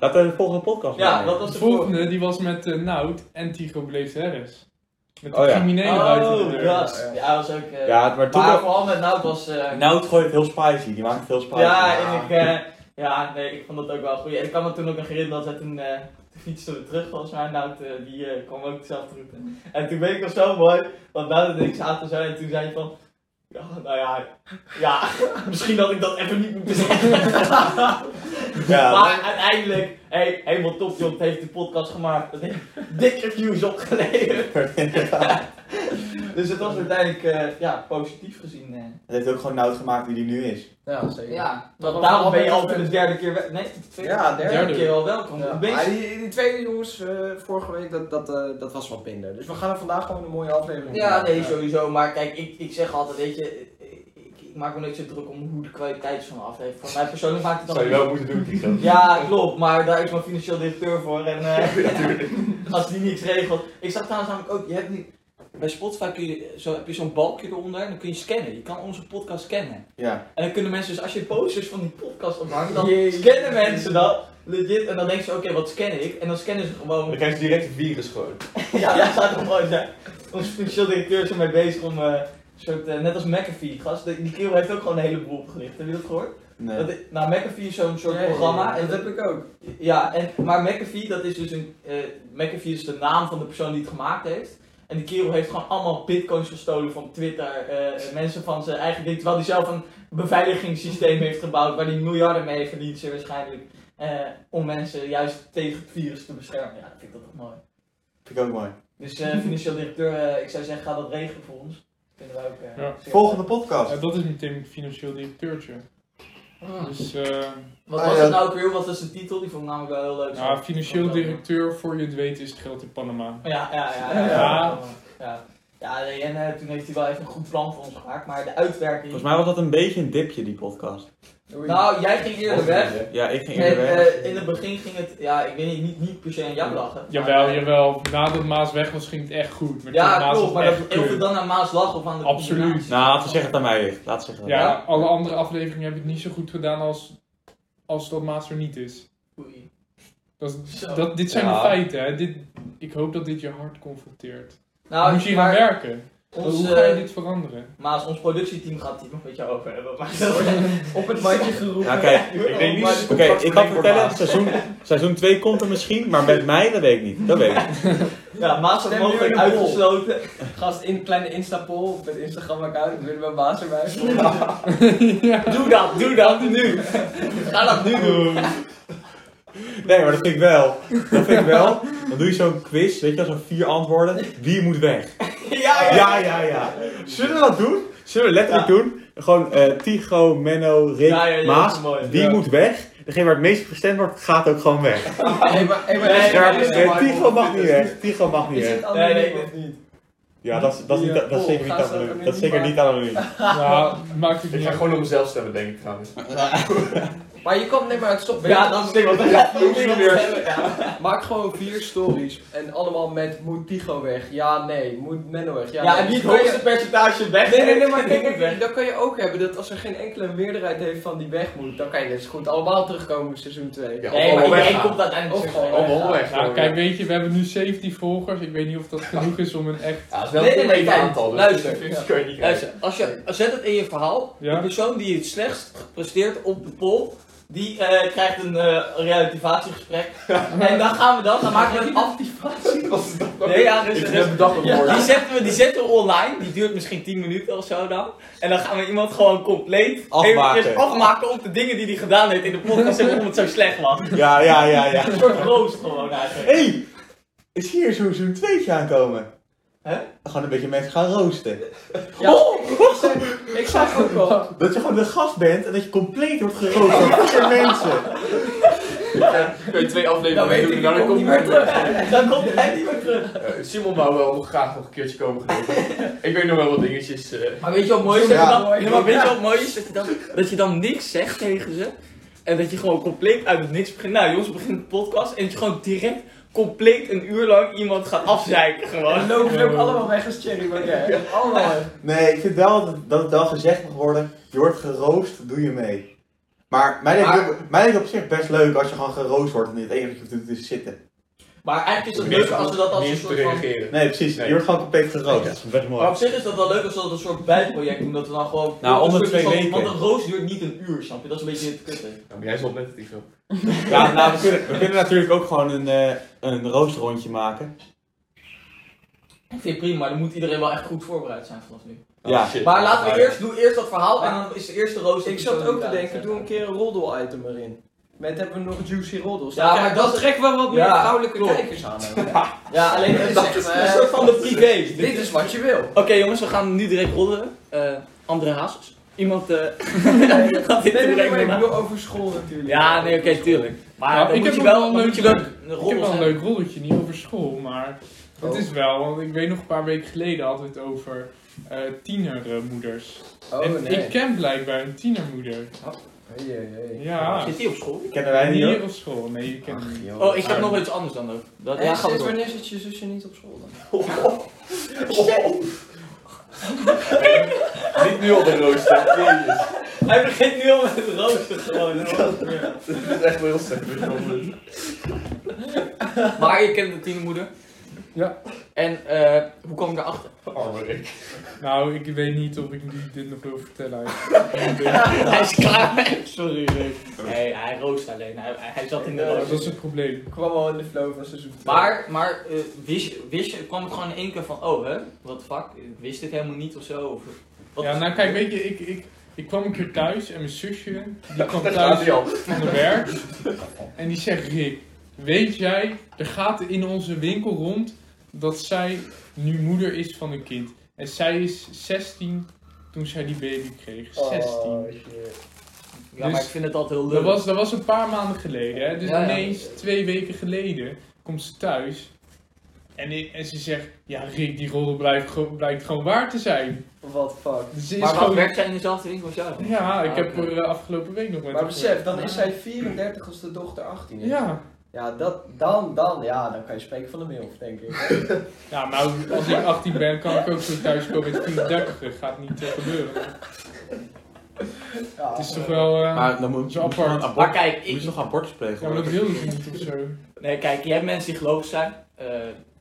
Laten we de volgende podcast
Ja,
maken.
dat was
De
de volgende.
volgende, die was met eh, Nout en Tigo Bleef Harris. Met de
Oh ja.
criminelen buiten de
Oh,
deur.
dat.
Ja, ja.
Ja, dat was ook. eh,
Ja, maar toen...
maar vooral met Nout was. eh,
Nou, het gooit het heel spicy. Die maakt het heel spicy.
Ja, en ik, eh, ja, nee, ik vond dat ook wel goed. En ik kan me toen ook nog herinneren dat we toen eh toen fietsten we terug volgens mij. Nout, eh, die eh, kwam ook dezelfde route. En toen weet ik nog zo mooi, want Nout en ik zaten zo en toen zei je van... Ja, nou ja, ja, misschien dat ik dat even niet moet zeggen.
Ja,
maar uiteindelijk, hey, helemaal top joh, het heeft de podcast gemaakt. Het heeft dik reviews opgeleverd. dus het was uiteindelijk, eh, ja, positief gezien. eh.
Het heeft ook gewoon Nout gemaakt wie die nu is.
Ja, zeker.
Ja,
Dat
want
was
daarom
wel
ben je
best
al voor de
best-
derde keer wel- Nee, de tweede,
Ja,
derde,
derde.
keer al welkom.
Ja.
Een beetje-
Maar die, die tweede jongens eh, vorige week, dat, dat, eh, dat was wat minder. Dus we gaan er vandaag gewoon een mooie aflevering
Ja,
maken.
nee, sowieso. Maar kijk, ik, ik zeg altijd, weet je, ik, ik maak me niet zo druk om hoe de kwaliteit is van de aflevering. Voor mij persoonlijk maakt het
Zou je
dan...
wel moeten doen, Tigo.
Ja, klopt, maar daar is mijn financieel directeur voor en eh, als die niks regelt. Ik zag trouwens namelijk ook, je hebt niet... Bij Spotify kun je, zo, heb je zo'n balkje eronder en dan kun je scannen. Je kan onze podcast scannen.
Ja.
En dan kunnen mensen dus, als je posters van die podcast ophangt, dan
Jee.
scannen mensen dat. Legit, en dan denken ze, oké, wat scan ik? En dan scannen ze gewoon
Dan krijg je direct een virus gewoon.
Oh, Ja, dat zou toch mooi zijn. Onze financieel directeur is ermee bezig om. eh, een soort, eh, net als McAfee, gast. die- Die kerel heeft ook gewoon een heleboel opgericht. Heb je dat gehoord?
Nee.
Dat, nou, McAfee is zo'n soort
Ja, ja, ja,
programma. En
Dat heb ik ook.
ja, en, maar McAfee, dat is dus een. eh, McAfee is de naam van de persoon die het gemaakt heeft. En die kerel heeft gewoon allemaal bitcoins gestolen van Twitter. eh, mensen van zijn eigen ding. Terwijl hij zelf een beveiligingssysteem heeft gebouwd waar hij miljarden mee heeft verdiend, zeer waarschijnlijk. eh, om mensen juist tegen het virus te beschermen. Ja, dat vind ik dat toch mooi.
Vind ik ook mooi.
Dus eh, financieel directeur, eh, ik zou zeggen, ga dat regelen voor ons. Kunnen we ook. eh,
Ja.
zeer-
Volgende podcast.
Ja, dat is meteen een financieel directeurtje.
Ah.
Dus eh,
Wat
Ah,
was
ja.
het nou ook weer? Wat was de titel? Die vond ik namelijk wel heel leuk.
ja, Nou, financieel directeur, voor je het weet is het geld in Panama.
Oh, Ja, ja, ja. Ja, ja.
Ja.
ja. ja nee, en eh, toen heeft hij wel even een goed plan voor ons gemaakt, maar de uitwerking.
Volgens mij was dat een beetje een dipje, die podcast.
Doei.
Nou, jij ging eerder weg.
Ja, ik ging
En,
eerder weg.
eh, in het begin ging het, ja, ik weet niet, niet, niet per se aan jou lachen.
Jawel, jawel. Nadat Maas weg was, ging het echt goed. Maar toen
Ja,
Maas
klopt,
was
maar
echt
dat, of
kut.
het dan aan Maas lag of aan de
Absoluut.
combinatie.
Nou, laten we zeggen dat het aan mij ligt. Laten we zeggen dat
Ja,
het
Ja.
alle andere afleveringen heb ik niet zo goed gedaan als, als dat Maas er niet is.
Oei.
Dat, is-
Zo.
dat, dit zijn
Ja.
de feiten. Hè. Dit, ik hoop dat dit je hart confronteert.
Nou,
Moet je hier aan
maar
werken?
ons,
Hoe ga je
eh,
dit veranderen?
Maas, ons productieteam gaat het hier nog met jou over hebben. Maar
Op het mandje geroepen.
Nou, kijk,
Ik denk niet
Oké, ik kan vertellen, seizoen, seizoen 2 komt er misschien, maar met mij, dat weet ik niet. Dat weet ik. niet.
ja, Maas is
Stem nu in
mogelijk
de poll.
uitgesloten.
Gast in kleine Instapol op het Instagram-account. Ik ben mijn baas erbij.
Doe dat, doe dat nu. Ga dat nu doen.
Nee, maar dat vind ik wel. Dat vind ik wel. Dan doe je zo'n quiz, weet je wel, zo'n vier antwoorden. Wie moet weg?
Ja, ja.
Ja, ja, ja. Zullen we dat doen? Zullen we letterlijk doen? Gewoon eh Tigo, Menno, Rick,
Ja, ja, ja, dat
Maas.
is mooi.
Wie
Ja.
moet weg? Degene waar het meest op gestemd wordt, gaat ook gewoon weg.
Hey, maar, hey, maar,
Nee,
is-
Ja,
nee,
is-
nee,
eh, Tigo mag niet weg. Tigo mag niet
Is
weg.
het anoniem
Nee, nee,
of niet?
Ja, dat is, dat is,
die,
niet,
eh,
dat is
poll
zeker niet
gaan ze
anoniem.
ook
Dat is zeker
niet
niet anoniem.
Ja, Nou, maakt het
Ik
niet
ga
uit.
gewoon op mezelf stemmen, denk ik trouwens.
Maar je kan nee maar het stop.
Ja, dat is het ding, want dan gaat hij opnieuw weer.
Maak gewoon vier stories en allemaal met moet Tigo weg? Ja, nee. Moet Menno weg? Ja,
Ja,
nee.
en wie het
Dan kan je-
hoogste percentage weg
Nee, nee, nee, maar
die moet
kijk,
weg.
dan kan je ook hebben dat als er geen enkele meerderheid heeft van die weg moet, dan kan je dus goed allemaal terugkomen in seizoen 2.
Nee,
Ja, Of
maar
gewoon
iedereen
weggaan.
komt uiteindelijk
Of
terug.
gewoon
Allemaal weg.
Nou, kijk, weet je, we hebben nu 17 volgers. Ik weet niet of dat genoeg is om een echt...
Ja, het is wel
Nee, nee,
een
nee,
nee,
kijk,
aantal. Dus
luister.
50 kan je niet krijgen.
Luister, als je, zet het in je verhaal.
Ja.
De persoon die het slechtst presteert op de poll, die eh, krijgt een eh, relativatiegesprek. en dan gaan we dan, dan maken we een af.
Wat is dat nou?
Nee, ja, dus,
Ik
dus-
heb bedacht een woord.
die, zetten we, die zetten we online, die duurt misschien 10 minuten of zo dan. En dan gaan we iemand gewoon compleet
Afmaken.
eventjes afmaken op de dingen die hij gedaan heeft in de podcast en waarom het zo slecht was.
Ja, ja, ja, ja.
Een soort roos gewoon eigenlijk.
hey, is hier zo'n zo'n tweetje aankomen?
Hè?
Gewoon een beetje mensen gaan roosten.
Ja, ik, ik zag ook al.
Dat je gewoon de gast bent en dat je compleet wordt geroost door vier mensen.
Kun je twee
Dan
afleveringen
weet
doen
ik,
dan
ik kom niet meer terug.
Dan komt hij niet meer terug.
Eh, Simon wou wel nog graag nog een keertje komen gelopen. ik weet nog wel wat dingetjes. eh,
Maar weet je wat mooi is? Dat je
Ja.
dan, nee, maar weet je wat mooi is? Dat je, dan, dat je dan niks zegt tegen ze. En dat je gewoon compleet uit het niks begint. Nou jongens, we beginnen de podcast. En dat je gewoon direct compleet een uur lang iemand gaat afzeiken
Dan
gewoon.
lopen ze ook allemaal weg als Cherry Baudet. Allemaal weg.
Nee, ik vind wel dat, dat het wel gezegd mag worden. Je wordt geroost, doe je mee. Maar mij lijkt, het- mij lijkt het op zich best leuk als je gewoon geroost wordt en het enige wat je hoeft te doen is zitten.
Maar eigenlijk is
om
het
niet
leuk als we dat als een
niet te
soort van...
reageren.
Nee, precies.
Nee.
Je wordt gewoon compleet geroost. Dat is best
Maar op zich is dat wel leuk als we dat een soort bijproject doen. Dat we dan gewoon...
Nou, om de
een soort
twee
van-
weken.
Want een roos duurt niet een uur, snap je? Dat is een beetje het kutte.
Ja, maar jij zat net het ik zo.
Ja, nou, we, kunnen, we kunnen natuurlijk ook gewoon een, eh, een roostrondje maken.
Ik vind het prima, maar dan moet iedereen wel echt goed voorbereid zijn vanaf nu.
Oh,
Ja.
shit.
Maar laten we
ja.
eerst, doe eerst dat verhaal en dan is de eerste roos...
Ik zat ook te denken, doe een keer een roddel-item erin. Met hebben we nog juicy roddels.
Ja,
Dan
maar
krijg-
dat-
dan trekken we wat meer
Ja,
vrouwelijke
klopt.
kijkers aan.
Ja, alleen het is
Dat
echt,
is-
eh, een soort van de privé.
Dit is wat je wil.
Oké jongens, we gaan nu direct rollen. Eh André Hazes. Iemand eh gaat dit
Nee, nee, nee, maar ik
direct doen.
bedoel over school natuurlijk.
Ja, nee, oké, tuurlijk. Maar
Ja,
dan
ik
moet
heb
je
nog
wel,
wel een
dan
leuk-
moet je wel een
Ik heb
roddel
wel een
zijn.
leuk rolletje, niet over school, maar het is wel, want ik weet nog een paar weken geleden hadden we het over eh, tienermoeders.
Oh
en
nee.
ik ken blijkbaar een tienermoeder.
Hey, hey, hey.
Ja,
Zit die op school?
Kennen wij die ook?
hier op school. Nee, je kent niet.
Oh, ik heb nog iets anders dan ook. Dat, ja,
En
ga
sinds
door.
wanneer zit je zusje niet op school dan?
Niet nu al de rooster. Jezus.
Hij begint nu al met het rooster gewoon.
Dit is echt wel heel slecht.
Maar je kent de tienermoeder.
Ja.
En eh, hoe kwam ik erachter?
Arme Rick.
Nou, ik weet niet of ik nu dit nog wil vertellen.
hij is klaar. Sorry, nee. Nee, hij roost alleen. Hij, hij zat in de
Oh, Dat
roos.
is het probleem.
Ik kwam al in de flow van seizoen 2.
Maar, maar eh, wist, je- wist je, kwam het gewoon in één keer van, oh hè, wat fuck, ik wist dit helemaal niet of zo? Of, wat
Ja,
is-
nou kijk, weet je, ik, ik, ik kwam een keer thuis en mijn zusje, die
Dat
kwam
gaat
thuis
hij al.
van de werk. En die zegt, Rick, weet jij, er gaat in onze winkel rond dat zij nu moeder is van een kind. En zij is 16 toen zij die baby kreeg.
Oh,
16.
ja, maar
dus-
ik vind Oh, het altijd heel leuk.
Dat was, dat was een paar maanden geleden, hè? dus
Ja, ja.
ineens twee weken geleden komt ze thuis. En, ik- en ze zegt, ja Rick, die rol blijft, gewoon- blijkt gewoon waar te zijn.
Wat fuck.
Ze is
maar wat
gewoon...
werkt zij in dezelfde winkel als jou?
Ja, ik
Ah,
heb
oké.
er eh, afgelopen week nog met
Maar
haar
besef, dan is zij 34 als de dochter 18 is.
Ja.
Ja, dat, dan, dan, ja, dan kan je spreken van de milf, denk ik.
Ja, nou, als ik 18 ben, kan ik ook zo thuis komen met 34. Gaat niet eh, gebeuren. Het is toch wel... eh,
Maar dan moet
Zo
je, moet je
apart.
nog een abort-
Maar kijk,
moet
ik,
je nog een abortus plegen.
ja, maar dat wil ik niet of zo.
Nee, kijk, je hebt mensen die gelovig zijn, eh,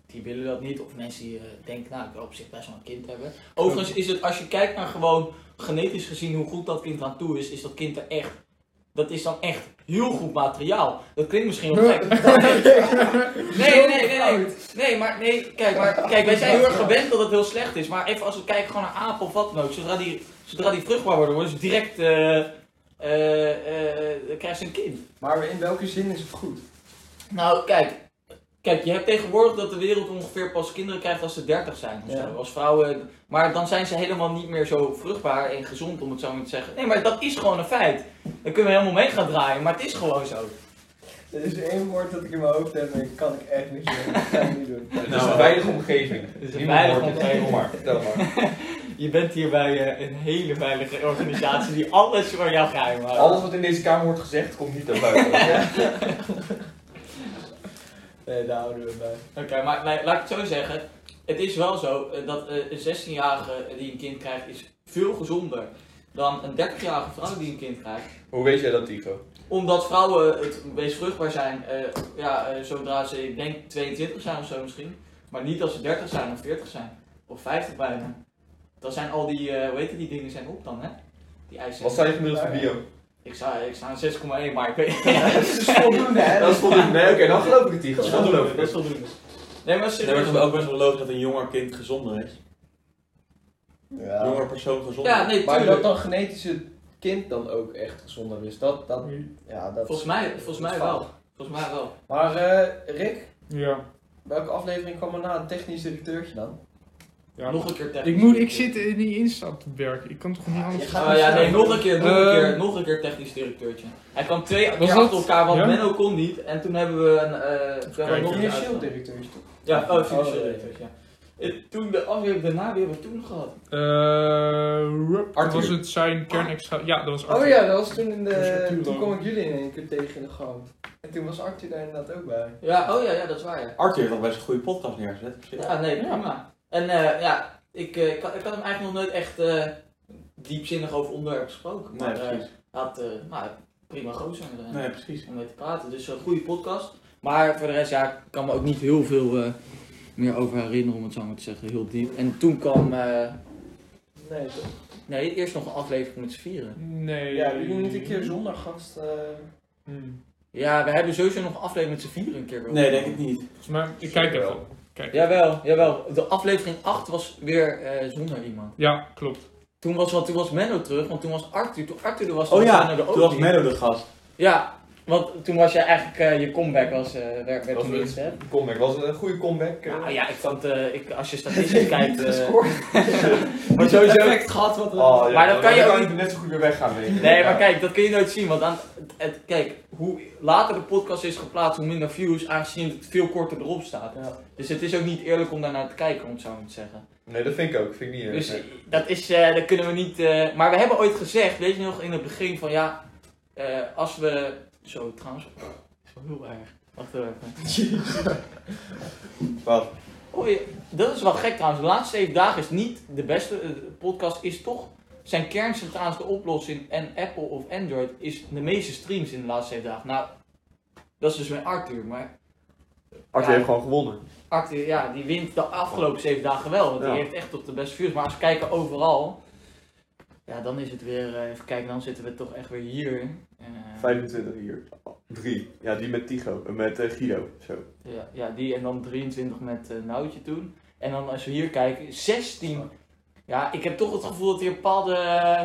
die willen dat niet. Of mensen die eh, denken, nou, ik wil op zich best wel een kind hebben. Overigens is het, als je kijkt naar gewoon genetisch gezien hoe goed dat kind aan toe is, is dat kind er echt. Dat is dan echt heel goed materiaal. Dat klinkt misschien wel gek. Nee, nee, nee, nee. Nee, maar nee, kijk, maar, kijk, wij zijn heel erg gewend dat het heel slecht is. Maar even als we kijken gewoon naar apen of wat dan ook. Zodra die, zodra die vruchtbaar worden, worden ze direct, eh, eh, eh, dan krijgen ze een kind.
Maar in welke zin is het goed?
Nou, kijk. Kijk, je hebt tegenwoordig dat de wereld ongeveer pas kinderen krijgt als ze 30 zijn. of
Ja.
zo. Als vrouwen. Maar dan zijn ze helemaal niet meer zo vruchtbaar en gezond, om het zo maar te zeggen. Nee, maar dat is gewoon een feit. Daar kunnen we helemaal mee gaan draaien, maar het is gewoon zo.
Er is één woord dat ik in mijn hoofd heb en dat kan ik echt niet doen. Dat ga ik niet doen.
Het is
Nou,
een veilige omgeving.
Het is een
Niemand
veilige
hoort het.
omgeving.
maar. Vertel maar.
Je bent hier bij eh, een hele veilige organisatie die alles voor jou geheim houdt.
Alles wat in deze kamer wordt gezegd, komt niet naar buiten.
Nee, daar houden we bij.
Oké, maar la- laat ik het zo zeggen. Het is wel zo eh, dat eh, een 16-jarige die een kind krijgt, is veel gezonder dan een 30-jarige vrouw die een kind krijgt.
Hoe weet jij dat, Tigo?
Omdat vrouwen het meest vruchtbaar zijn, eh, ja, eh, zodra ze, ik denk, 22 zijn of zo misschien. Maar niet als ze 30 zijn of 40 zijn. Of 50 bijna. Dan zijn al die, eh hoe heet het, die dingen zijn op dan, hè? Die
Wat
eisen.
zijn je gemiddeld van bio?
Ik sta, ik sta aan 6,1, maar ik weet
Dat is dus voldoende, hè?
Dat is voldoende. Nee, oké, dan geloof ik het, Tigo.
Dat is
Dan geloof
voldoende, dat
ik het.
is voldoende. Nee, maar
Nee, maar het
serieus.
is ook best wel logisch dat een jonger kind gezonder is. Een
Ja.
jonger persoon gezonder.
Ja, nee,
Maar dat
tuurlijk.
dan genetische kind dan ook echt gezonder is, dat, dat, ja, dat
Volgens mij, volgens mij wel. Volgens mij wel.
Maar eh, Rick,
Ja.
welke aflevering kwam er na? Een technisch directeurtje dan?
ja.
Nog een keer technisch.
Ik, moet, ik zit Ehm, in die instapwerk. Ik kan toch niet
je
anders
gaat-
Oh ja, nee, nog een keer, nog een keer,
Ehm.
nog een keer technisch directeurtje. Hij kwam twee keer
Was
achter
dat-
elkaar, want
ja?
Menno kon niet. En toen hebben we een, eh, toen hebben we
kijken.
nog een keer
Financieel
uitgenodigd.
directeurtje toch?
Ja, oh, financieel
Oh, nee.
directeur, ja. En toen de aflevering daarna, wie hebben we toen gehad?
Eh, rup,
Arthur.
was het zijn kernextra... Ja, dat was Arthur.
Oh ja, dat was toen in
Toen was Arthur
de. Toen
dan.
kwam ik jullie in één keer tegen in de gang. En toen was Arthur daar inderdaad ook bij.
Ja, oh ja, ja, dat is waar, ja.
Arthur heeft al best een goede podcast neergezet. op zich.
Ja, nee, prima. En eh, ja, ik, eh, ik, had, ik had hem eigenlijk nog nooit echt eh, diepzinnig over onderwerpen gesproken. Maar
Nee,
eh,
precies.
hij had, eh, nou, prima gozer eh,
Nee, precies.
om mee te praten. Dus een goede podcast. Maar voor de rest, ja, ik kan me ook niet heel veel eh, meer over herinneren, om het zo maar te zeggen, heel diep. En toen kwam, eh,
Nee, toch?
nee, eerst nog een aflevering met z'n vieren.
Nee.
Ja, jullie niet een keer zonder gast. eh,
Hmm.
Ja, we hebben sowieso nog een aflevering met z'n vieren een keer.
Nee, denk ik niet.
Volgens mij... Ik kijk even. Kijk. Ja.
Jawel, jawel. De aflevering 8 was weer eh, zonder iemand.
klopt.
Toen was, want toen was Menno terug, want toen was Arthur. Toen Arthur er was,
Oh
was
ja,
Menno er ook
toen was
niet.
Menno de gast.
Ja, want toen was je eigenlijk, eh, je comeback was, eh werd, werd
Was
toen
het?
ingezet.
Comeback, was het een goede comeback? eh?
Nou ja, ik vond, eh, ik, als je statistisch kijkt, eh maar
Het
sowieso...
effect gehad wat we.
Oh, ja,
Maar dat kan je
dan
ook-
ik er net zo goed weer weggaan. denk ik.
Nee,
Ja.
maar kijk, dat kun je nooit zien, want aan, het, het- kijk, hoe later de podcast is geplaatst, hoe minder views, aangezien het veel korter erop staat.
Ja.
Dus het is ook niet eerlijk om daarnaar te kijken, om het zo maar te zeggen.
Nee, dat vind ik ook. Vind ik niet eerlijk.
Dus dat is, eh, dat kunnen we niet. eh, maar we hebben ooit gezegd, weet je nog, in het begin van ja, eh, als we. Zo, trouwens. Dat is wel heel erg. Wacht even.
Wat?
Oh, je- dat is wel gek trouwens. De laatste zeven dagen is niet de beste. eh, De podcast is toch. Zijn kern zit trouwens de oplossing. En Apple of Android is de meeste streams in de laatste zeven dagen. Nou, dat is dus mijn Arthur. Maar Arthur heeft
gewoon gewonnen.
Arthur, ja, die wint de afgelopen zeven dagen wel. Want die
Ja.
heeft echt op de beste views. Maar als we kijken overal. Ja, dan is het weer. eh, even kijken, dan zitten we toch echt weer hier. Eh,
25 hier. 3. Ja, die met Tigo. eh, Met eh, Guido. Zo.
Ja, ja, die en dan 23 met eh Noutje toen. En dan als we hier kijken, 16. Ja, ik heb toch het gevoel dat hier een bepaalde eh,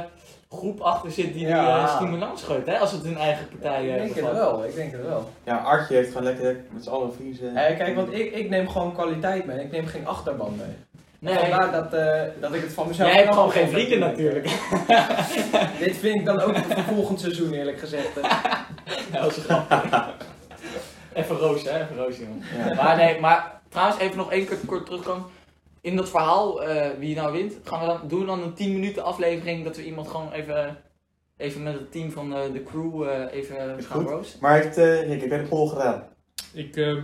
groep achter zit die
Ja.
die eh, stimulans gooit, hè? Als het hun eigen partij
ik
eh,
denk het
bevat.
wel, ik denk het wel.
Ja, Artje heeft gewoon lekker met z'n allen vriezen.
Eh, kijk, want ik, ik neem gewoon kwaliteit mee, ik neem geen achterban mee.
Nee,
Vandaar dat, eh, dat ik het van mezelf.
jij hebt
knap
gewoon geen
vond
vrienden
dat jullie-
natuurlijk.
Dit vind ik dan ook voor volgend seizoen eerlijk gezegd. eh.
Ja, dat is een grap. Even roos, hè? Even roos, jongen.
Ja.
Maar nee, maar trouwens, even nog één keer kort terugkomen. In dat verhaal, eh, wie nou wint, gaan we dan, doen we dan een 10 minuten aflevering dat we iemand gewoon even, even met het team van eh, de crew eh, even
Is
gaan
goed.
roosten?
Maar heeft, eh Rick, heb jij de poll gedaan?
Ik eh,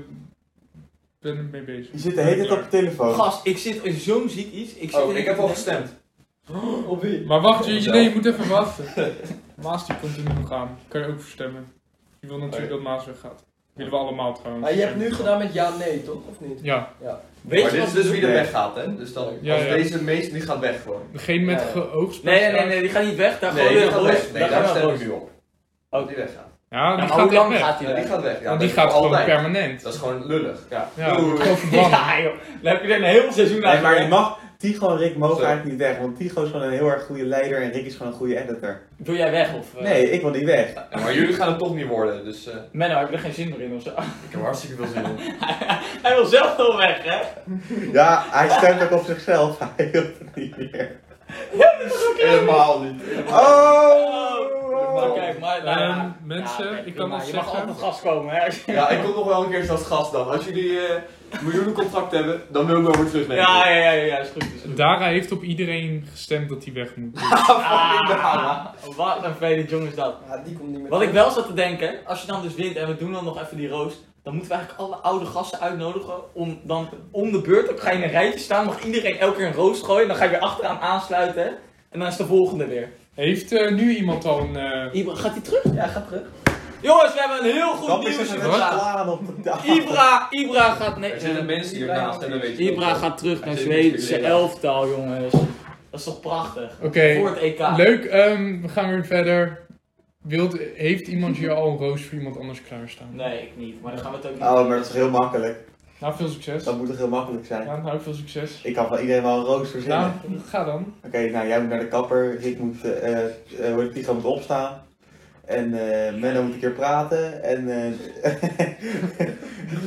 ben ermee bezig.
Je zit de hele tijd op je telefoon.
Gast, ik zit in zo'n ziek iets. Ik zit
Oh,
in-
ik heb al gestemd.
Op wie?
Maar wacht,
Op
je,
mezelf.
nee, je moet even wachten. Maas die komt er nu nog aan. Kan je ook verstemmen. Je wil natuurlijk
Oh
dat Maas weggaat. Willen we allemaal trouwens.
Maar je hebt nu gedaan met ja, nee, toch? Of niet?
Ja,
maar
Weet je
dit
wat
is dus wie er
Nee.
weggaat, hè? Dus dan,
Ja,
als
ja.
deze meest, die gaat weg gewoon.
degene met
Ja, ja.
geoogst.
Nee, nee, nee, nee, die gaat niet weg. Daar
dus- Nee,
gewoon
die
weer
gaat
roos.
weg. Nee, daar
gaan we
stem ik
roos.
nu op.
Oh.
Dat die weggaat.
Ja,
Ja,
die
maar hoe
gaat echt
lang
weg.
gaat hij
Ja, Ah, die
weg?
gaat weg. Ja,
Want die
dat
gaat
is
gewoon
altijd.
permanent.
Dat is gewoon lullig. Ja.
Ja,
Doei.
gewoon verbannen.
Ja, joh. Dan heb je er een heel seizoen aan.
Nee, maar je mag, Tigo en Rick mogen
Zo.
eigenlijk niet weg, want Tigo is gewoon een heel erg goede leider en Rick is gewoon een goede editor.
Wil jij weg of... eh,
Nee, ik wil niet weg.
Ja, maar jullie gaan het toch niet worden, dus eh,
Menno, heb je er geen zin meer in of zo?
ik heb hartstikke veel zin in.
Hij wil zelf wel weg, hè?
Ja, hij stemt ook op zichzelf, hij wil het niet meer.
Helemaal niet.
Oh!
Kijk, maar... nou ja.
Ehm, mensen,
Ja,
ik
prima.
kan nog
Je mag
zeggen...
altijd gas komen, hè? als je-
Ja, ik kom nog wel een keer als gast dan. Als jullie miljoenen miljoenencontract hebben, dan wil ik wel weer terugnemen.
Ja, ja, ja, ja, ja, is goed. Is goed.
Dara heeft op iedereen gestemd dat hij weg moet.
Ah, wat een vele jong is dat.
Ja, Ah, die komt niet meer
Wat ik
terug.
wel zat te denken, als je dan dus wint en we doen dan nog even die roos, dan moeten we eigenlijk alle oude gasten uitnodigen om dan om de beurt, dan ga je in een rijtje staan, mag iedereen elke keer een roos gooien, dan ga je weer achteraan aansluiten en dan is de volgende weer.
Heeft eh, nu iemand al een... eh,
Ibra, gaat hij terug?
Ja, ga terug.
Jongens, we hebben een heel goed
Dat is
nieuws.
dus een
Wat?
slaan op de dag.
Ibra, Ibra gaat... Nee, eh,
Er zitten mensen hiernaast en dan weet je het
Ibra
ook.
gaat terug naar
Hij zit in de
Zweedse
tweede.
elftal, jongens. Dat is toch prachtig?
Oké,
Voor het EK.
leuk. ehm, we gaan weer verder. Wilt, heeft iemand hier al een roos voor iemand anders klaarstaan?
Nee, ik niet, maar dan gaan we het ook niet
Oh, maar dat is heel makkelijk.
Nou, veel succes.
Dat moet toch heel makkelijk zijn?
Ja, nou, veel succes.
Ik kan van iedereen wel een roos verzinnen.
Nou, ga dan.
Oké, nou jij moet naar de kapper, Rick moet, eh eh, eh, hoe heet die, gaan moet opstaan. En eh Menno moet een keer praten. En, eh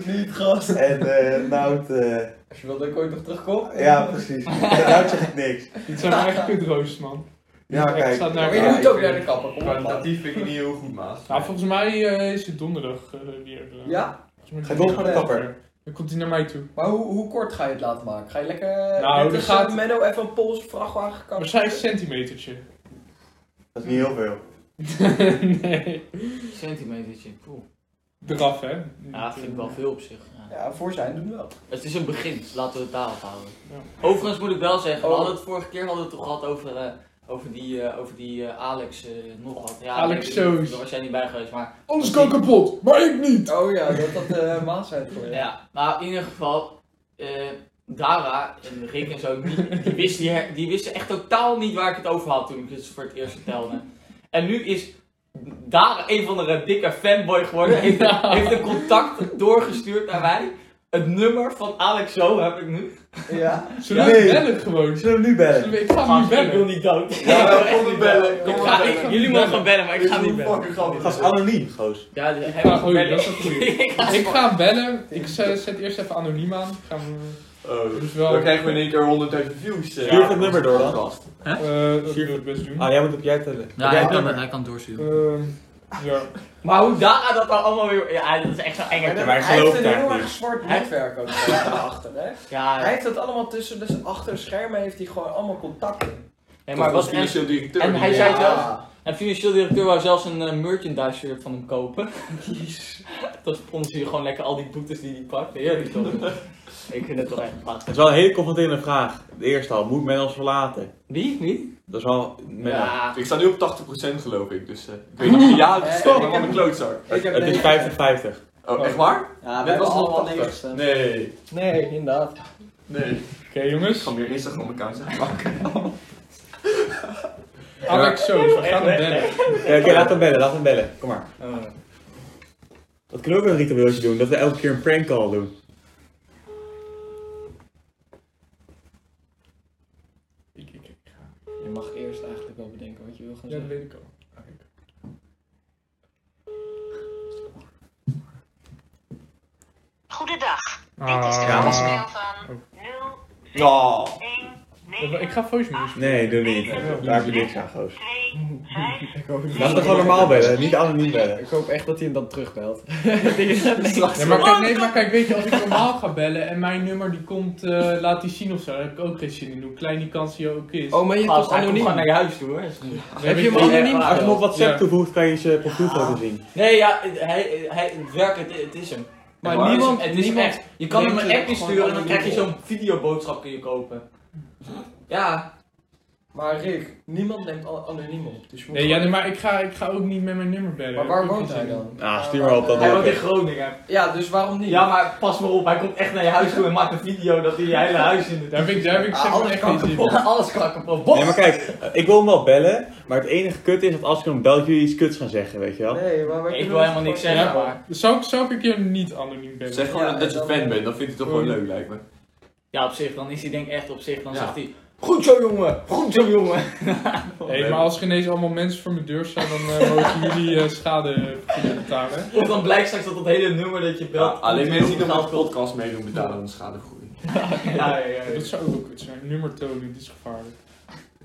Niet gast.
en eh Nout, eh,
Als je wilt dat ik ooit nog
Nou,
terugkom.
ja precies. En Nout zegt niks.
Dit zijn mijn eigen kutroosters, man.
Ja,
Ik
kijk.
sta
Maar
daar-
je
Ja,
moet
ik
ook
vind-
naar de kapper. Kom
Nou,
op, man.
Kwalitatief vind ik het niet heel goed, maat.
Nou, volgens mij eh, is het donderdag eh, weer. eh,
Ja,
volgens mij
Ga je nog naar de
donderdag.
kapper?
Dan komt hij naar mij toe.
maar hoe, hoe kort ga je het laten maken? Ga je lekker...
Nou,
net
er
als,
gaat-
eh, Menno even een Poolse vrachtwagen kappen?
Waarschijnlijk een centimetertje.
Dat is niet heel veel.
nee.
Centimetertje, poeh.
Eraf, hè?
Ja, dat vind ik wel veel op zich. ja.
Ja, voor zijn doen we wel.
Het is een begin, laten we het daarop houden.
Ja.
Overigens moet ik wel zeggen, we
Oh.
hadden het vorige keer hadden we het toch gehad over, eh, over die, eh, over die eh, Alex eh, nog wat. Ja,
Alex
ik-
Soos.
Daar was jij niet bij geweest, maar
Alles kan kapot, maar ik niet!
Oh ja, dat dat eh Maas zijn voor je.
ja. Maar in ieder geval, eh, Dara en Rick en zo, die, die, wisten, die, her- die wisten echt totaal niet waar ik het over had toen ik het voor het eerst vertelde. En nu is Dara een van de dikke fanboy geworden, heeft, heeft een contact doorgestuurd naar mij. Het nummer van Alex Zo heb ik nu.
Ja.
Zullen
Nee.
we bellen gewoon?
Zullen we hem nu bellen?
Zullen we- ik ga hem nu
Gast, Ik wil
bellen.
niet dood.
Ja,
Ik wil
wel,
echt
kom
niet
het
dood.
bellen.
Ik
Kom
ga,
maar
ik-
bellen.
jullie mogen gaan bellen, maar ik ga niet bellen.
Fucking Oh. grappig.
Gast anoniem, goos.
Ja, de- hij
Ja,
mag
goeie,
bellen.
dat is een goeie.
Ik ga-
Ik ga hem bellen. Ik zet, zet eerst even anoniem aan. Gaan we,
Oh,
dus wel,
Dan krijgen we in één keer 100.000 views. eh.
Stuur even het nummer door dan.
eh, dat wil ik best doen.
Ah, jij moet op jij tellen. Heb jij het nummer?
hij kan doorsturen.
Ehm, ja.
Maar hoe Dara dat dan allemaal weer... Ja, dat is echt zo'n enge...
wij
hij heeft
geloven
een
daar
heel
niet.
erg zwart
Hij-
netwerk ook eh, achter, hè? Hij
Ja,
heeft dat allemaal tussen, dus achter schermen heeft hij gewoon allemaal contacten.
nee, maar
Toch
was
een financieel directeur
en
die-
hij zei het wel.
Ja.
En financieel directeur wou zelfs een eh, merchandise shirt van hem kopen. Dat sponsor je gewoon lekker al die boetes die hij pakt. Heerlijk toch? Ik vind het toch echt
Het is
prachtig.
wel een hele confronterende vraag. De eerste al, moet men ons verlaten?
Wie? Wie?
Dat is wel Menno.
Ja.
Ik sta nu op 80% geloof ik, dus eh, ik weet niet of je ja hebt
Eh,
gestemd,
ik
maar
heb-
een klootzak.
Ik heb
Het is
nee.
50-50.
Oh, echt waar?
Ja, we
Dit
hebben
was nog
allemaal
80.
negen gestemd.
Nee,
Nee, inderdaad.
nee. Ik
Oké jongens,
ga meer Instagram-accounts aanmaken.
Alex Soos, we gaan hem bellen.
Ja, Oké, laat hem bellen, laat hem bellen. Kom maar.
Eh,
Dat kunnen we ook een ritueeltje doen, dat we elke keer een prank call doen.
Ik, ik, ik ga.
je mag eerst eigenlijk wel bedenken wat je wil gaan
Ja, dat
zeggen.
weet ik al.
Goedendag. Dit is de
Ah.
voicemail van 0,
Ja.
1,
Ik ga voicemails.
Nee, doe niet. Daar heb je niks aan, goos.
2, 5,
Laten we gewoon normaal bellen, niet anoniem bellen.
Ik hoop echt dat hij hem dan terugbelt.
Nee maar, kijk, nee, maar kijk, weet je, als ik normaal ga bellen en mijn nummer die komt, eh, laat die zien of zo, daar heb ik ook geen zin in, hoe klein die kans hier ook is.
Oh, maar je hebt
Gast,
toch
hij komt gewoon naar
anoniem?
je huis toe hoor. Is niet-
Dan
heb je hem
ik-
anoniem
Ja,
Als je hem op
Ja.
WhatsApp toevoegt, kan je zijn profielfoto zien.
Nee, ja, hij, hij, werkelijk, het is hem.
Maar
Het is
niemand-
hem, het is
niemand
echt. Je kan hem
denkt
een
er
appje
gewoon
sturen en dan
anoniem
krijg je
op.
zo'n videoboodschap kun je kopen. Ja,
Maar Rick, niemand neemt al- anoniem op. Dus je moet
Nee, ja, nee,
gewoon-
maar ik ga, ik ga ook niet met mijn nummer bellen.
maar waar woont hij dan?
Ah, stuur maar op, dat
Hij
hoor
woont in
ik.
Groningen.
Ja, dus waarom niet?
Ja, maar pas maar op, hij komt echt naar je huis toe en maakt een video dat hij je hele huis in de...
Daar heb ik, daar heb ik
Ah,
zeg maar
alles
echt
kan
geen zin
kapot.
in.
Alles kan kapot.
Nee, maar kijk, ik wil hem wel bellen, maar het enige kut is dat als ik hem bel, dat jullie iets kuts gaan zeggen, weet je wel.
Nee, maar wij kunnen
Ik wil
ons
helemaal niks
gewoon-
zeggen,
Ja.
maar...
Zou ik, zou ik een keer niet anoniem bellen?
Zeg gewoon
Ja,
dat je
dan-
fan bent, dan vindt hij het toch gewoon leuk, lijkt me.
Ja, op zich, dan is hij denk ik echt op zich. Dan
Ja.
zegt hij, goed zo jongen, goed zo jongen.
Hey, maar als er ineens allemaal mensen voor mijn deur staan, dan eh, mogen jullie eh, schade betalen.
Of dan blijkt straks dat dat hele nummer dat je
Ja,
belt...
alleen mensen die nog aan de
geld
podcast meedoen betalen aan de schadegroei.
Ja, ja, ja.
Dat zou ook wel kut zijn. Nummer tonen, dit is gevaarlijk.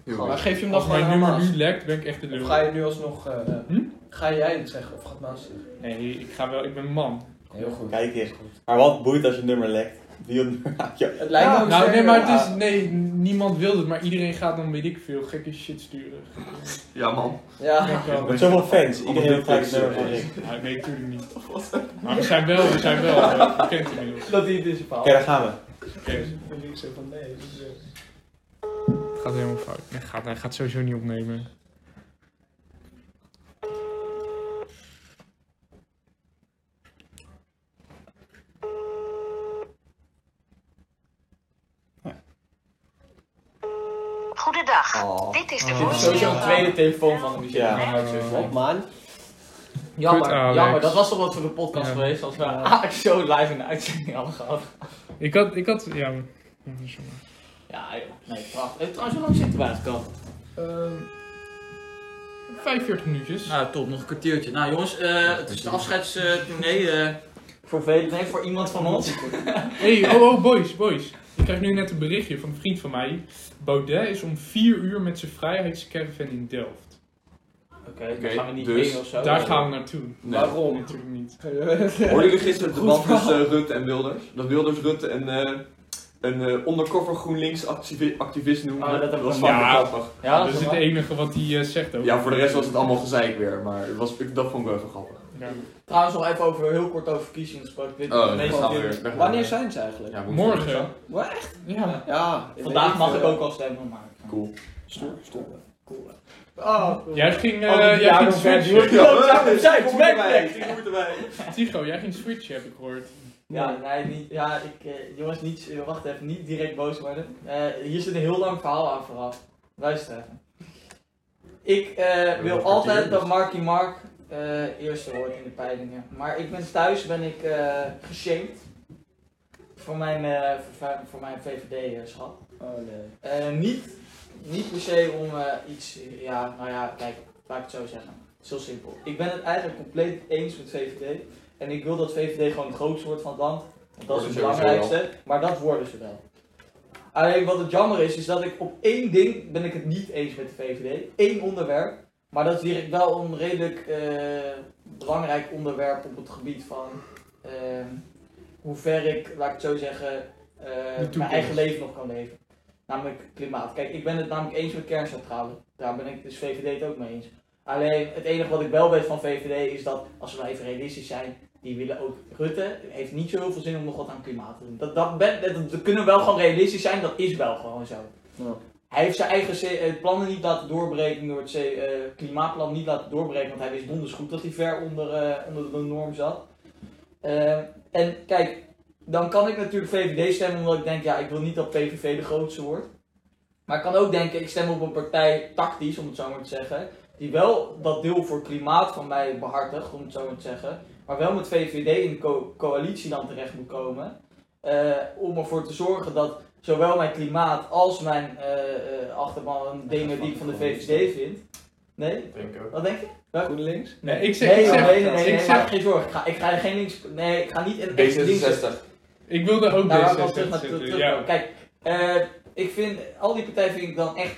Heel
Maar
erg.
geef je hem dan
Als
gewoon
mijn
aan
nummer
Maas?
nu lekt, ben ik echt de
Of ga
lul.
je nu alsnog... eh,
Hm?
Ga jij het zeggen of gaat Maas het zeggen?
Nee, ik ga wel, ik ben man.
Heel goed.
Kijk eens. Maar wat boeit als je nummer lekt? Die nummer uit je
Het lijkt me ook
Nou, nee,
sterker
maar het
dan-
is, nee, niemand wil het, maar iedereen gaat dan, weet ik veel, gekke shit sturen.
Ja man.
Ja.
Denk wel.
Met zoveel fans,
Allemaal
iedereen wil graag het nummer
dickpics,
van
eh.
Rick.
Ja, Ah, nee, natuurlijk niet. Maar we zijn wel, we zijn wel, eh, bekend inmiddels.
Dat hij het is een
Oké, daar gaan we.
Oké. Het gaat helemaal fout. Hij gaat, hij gaat sowieso niet opnemen.
Goedendag. Dit is de
Oh.
Sowieso een
voicemail.
tweede telefoon van hem. die zit
Ja.
in mijn huis.
Wat, man?
Kut,
Jammer,
Alex.
jammer. Dat was toch wat voor de podcast
Ja.
geweest als we Alex zo live in de uitzending hadden gehad.
Ik had, ik had, ja. maar- ja, dat is jammer.
Ja, joh. Nee, prachtig. Eh, Trouwens, hoe lang zitten we eigenlijk al?
Ehm 45 minuutjes.
Nou, top. Nog een kwartiertje. Nou, jongens, eh, het is een afscheidstournee. eh voor velen, nee, voor iemand van ons.
Hey, oh, oh, boys, boys. Ik krijg nu net een berichtje van een vriend van mij. Baudet is om 4 uur met zijn vrijheidscaravan in Delft.
Oké, dan
Oké,
gaan we niet
dus
mee of zo.
Daar gaan we naartoe.
Nee.
Oh. Waarom? Natuurlijk niet.
Hoorden jullie gisteren het
Goed
debat tussen eh, Rutte en Wilders? Dat Wilders Rutte een, eh een eh undercover GroenLinks activi- activist noemde.
Oh, dat heb ik
was
nog-
fucking
Ja.
grappig.
Ja,
dat is het
wel-
Dus enige wat hij eh, zegt ook.
Ja, voor de rest was het allemaal gezeik weer, maar het was, ik, dat vond ik wel even grappig.
Ja.
Trouwens, nog even over, heel kort over verkiezingen gesproken. Dit
Oh,
de
daar
meeste
gaan we
dit-
weer. daar gaan we
Wanneer
weer.
zijn ze eigenlijk?
Ja, woensdag.
Morgen.
Wat?
Ja.
Ja. ik
Vandaag
weet
mag
niet,
ik
eh,
ook al stemmen, maar...
Cool.
Stoer, stoer. Cool.
Jij ging, eh,
Al Oh, die
jij
jaren
ging switchen.
verder. Ja, we zijn het, weg, weg.
Tycho, jij ging switchen, heb ik gehoord.
Ja, nee, niet, ja ik, eh, jongens, niet, eh, wacht even, niet direct boos worden. Eh, hier zit een heel lang verhaal aan vooraf. Luister even. Ik eh, wil
dat
altijd
kwartier
dat Marky Mark eh, eerste wordt in de peilingen. Maar ik ben thuis ben ik eh geshamed voor mijn, eh, voor, voor mijn VVD-schap.
Oh nee.
Eh, niet, niet per se om eh, iets, ja, nou ja, kijk, laat ik het zo zeggen. Het is heel simpel. Ik ben het eigenlijk compleet eens met VVD. En ik wil dat VVD gewoon het grootste wordt van het land. Want dat is
Worden
het
ze sowieso
belangrijkste. Maar dat worden ze wel. Alleen wat het jammer is, is dat ik op één ding ben ik het niet eens met de VVD. Eén onderwerp. Maar dat is direct wel een redelijk eh, belangrijk onderwerp op het gebied van ehm, hoe ver ik, laat ik het zo zeggen, eh, mijn
toekomst.
eigen leven nog kan leven. Namelijk klimaat. Kijk, ik ben het namelijk eens met kerncentrale. Daar ben ik dus VVD het ook mee eens. Alleen het enige wat ik wel weet van VVD is dat, als we nou even realistisch zijn, die willen ook Rutte. Heeft niet zo heel veel zin om nog wat aan klimaat te doen. Dat, dat, ben, dat, dat- we kunnen wel gewoon realistisch zijn, dat is wel gewoon zo.
Ja.
Hij heeft zijn eigen C- eh, plannen niet laten doorbreken, door het C- eh, klimaatplan niet laten doorbreken, want hij wist donders goed dat hij ver onder, eh, onder de norm zat. Eh, en kijk, dan kan ik natuurlijk VVD stemmen omdat ik denk, ja, ik wil niet dat PVV de grootste wordt. Maar ik kan ook denken, ik stem op een partij tactisch, om het zo maar te zeggen, die wel dat deel voor klimaat van mij behartigt, om het zo maar te zeggen, maar wel met VVD in de co- coalitie dan terecht moet komen, eh, om ervoor te zorgen dat zowel mijn klimaat als mijn eh, eh, achterban dingen die ik van de VVD vind. Nee?
Denk ik ook.
Wat denk je?
GroenLinks?
Nee, ik zeg,
Nee,
ik
joh,
zeg,
nee, nee, nee,
ik
nee,
zeg,
maak geen zorgen. Ik ga, ik ga geen links. Nee, ik ga niet in echt links.
D66.
ik wilde ook deze
Nou, laten we terug naar terug-
zetten.
terug-
Ja.
Kijk, eh, ik vind, al die partijen vind ik dan echt.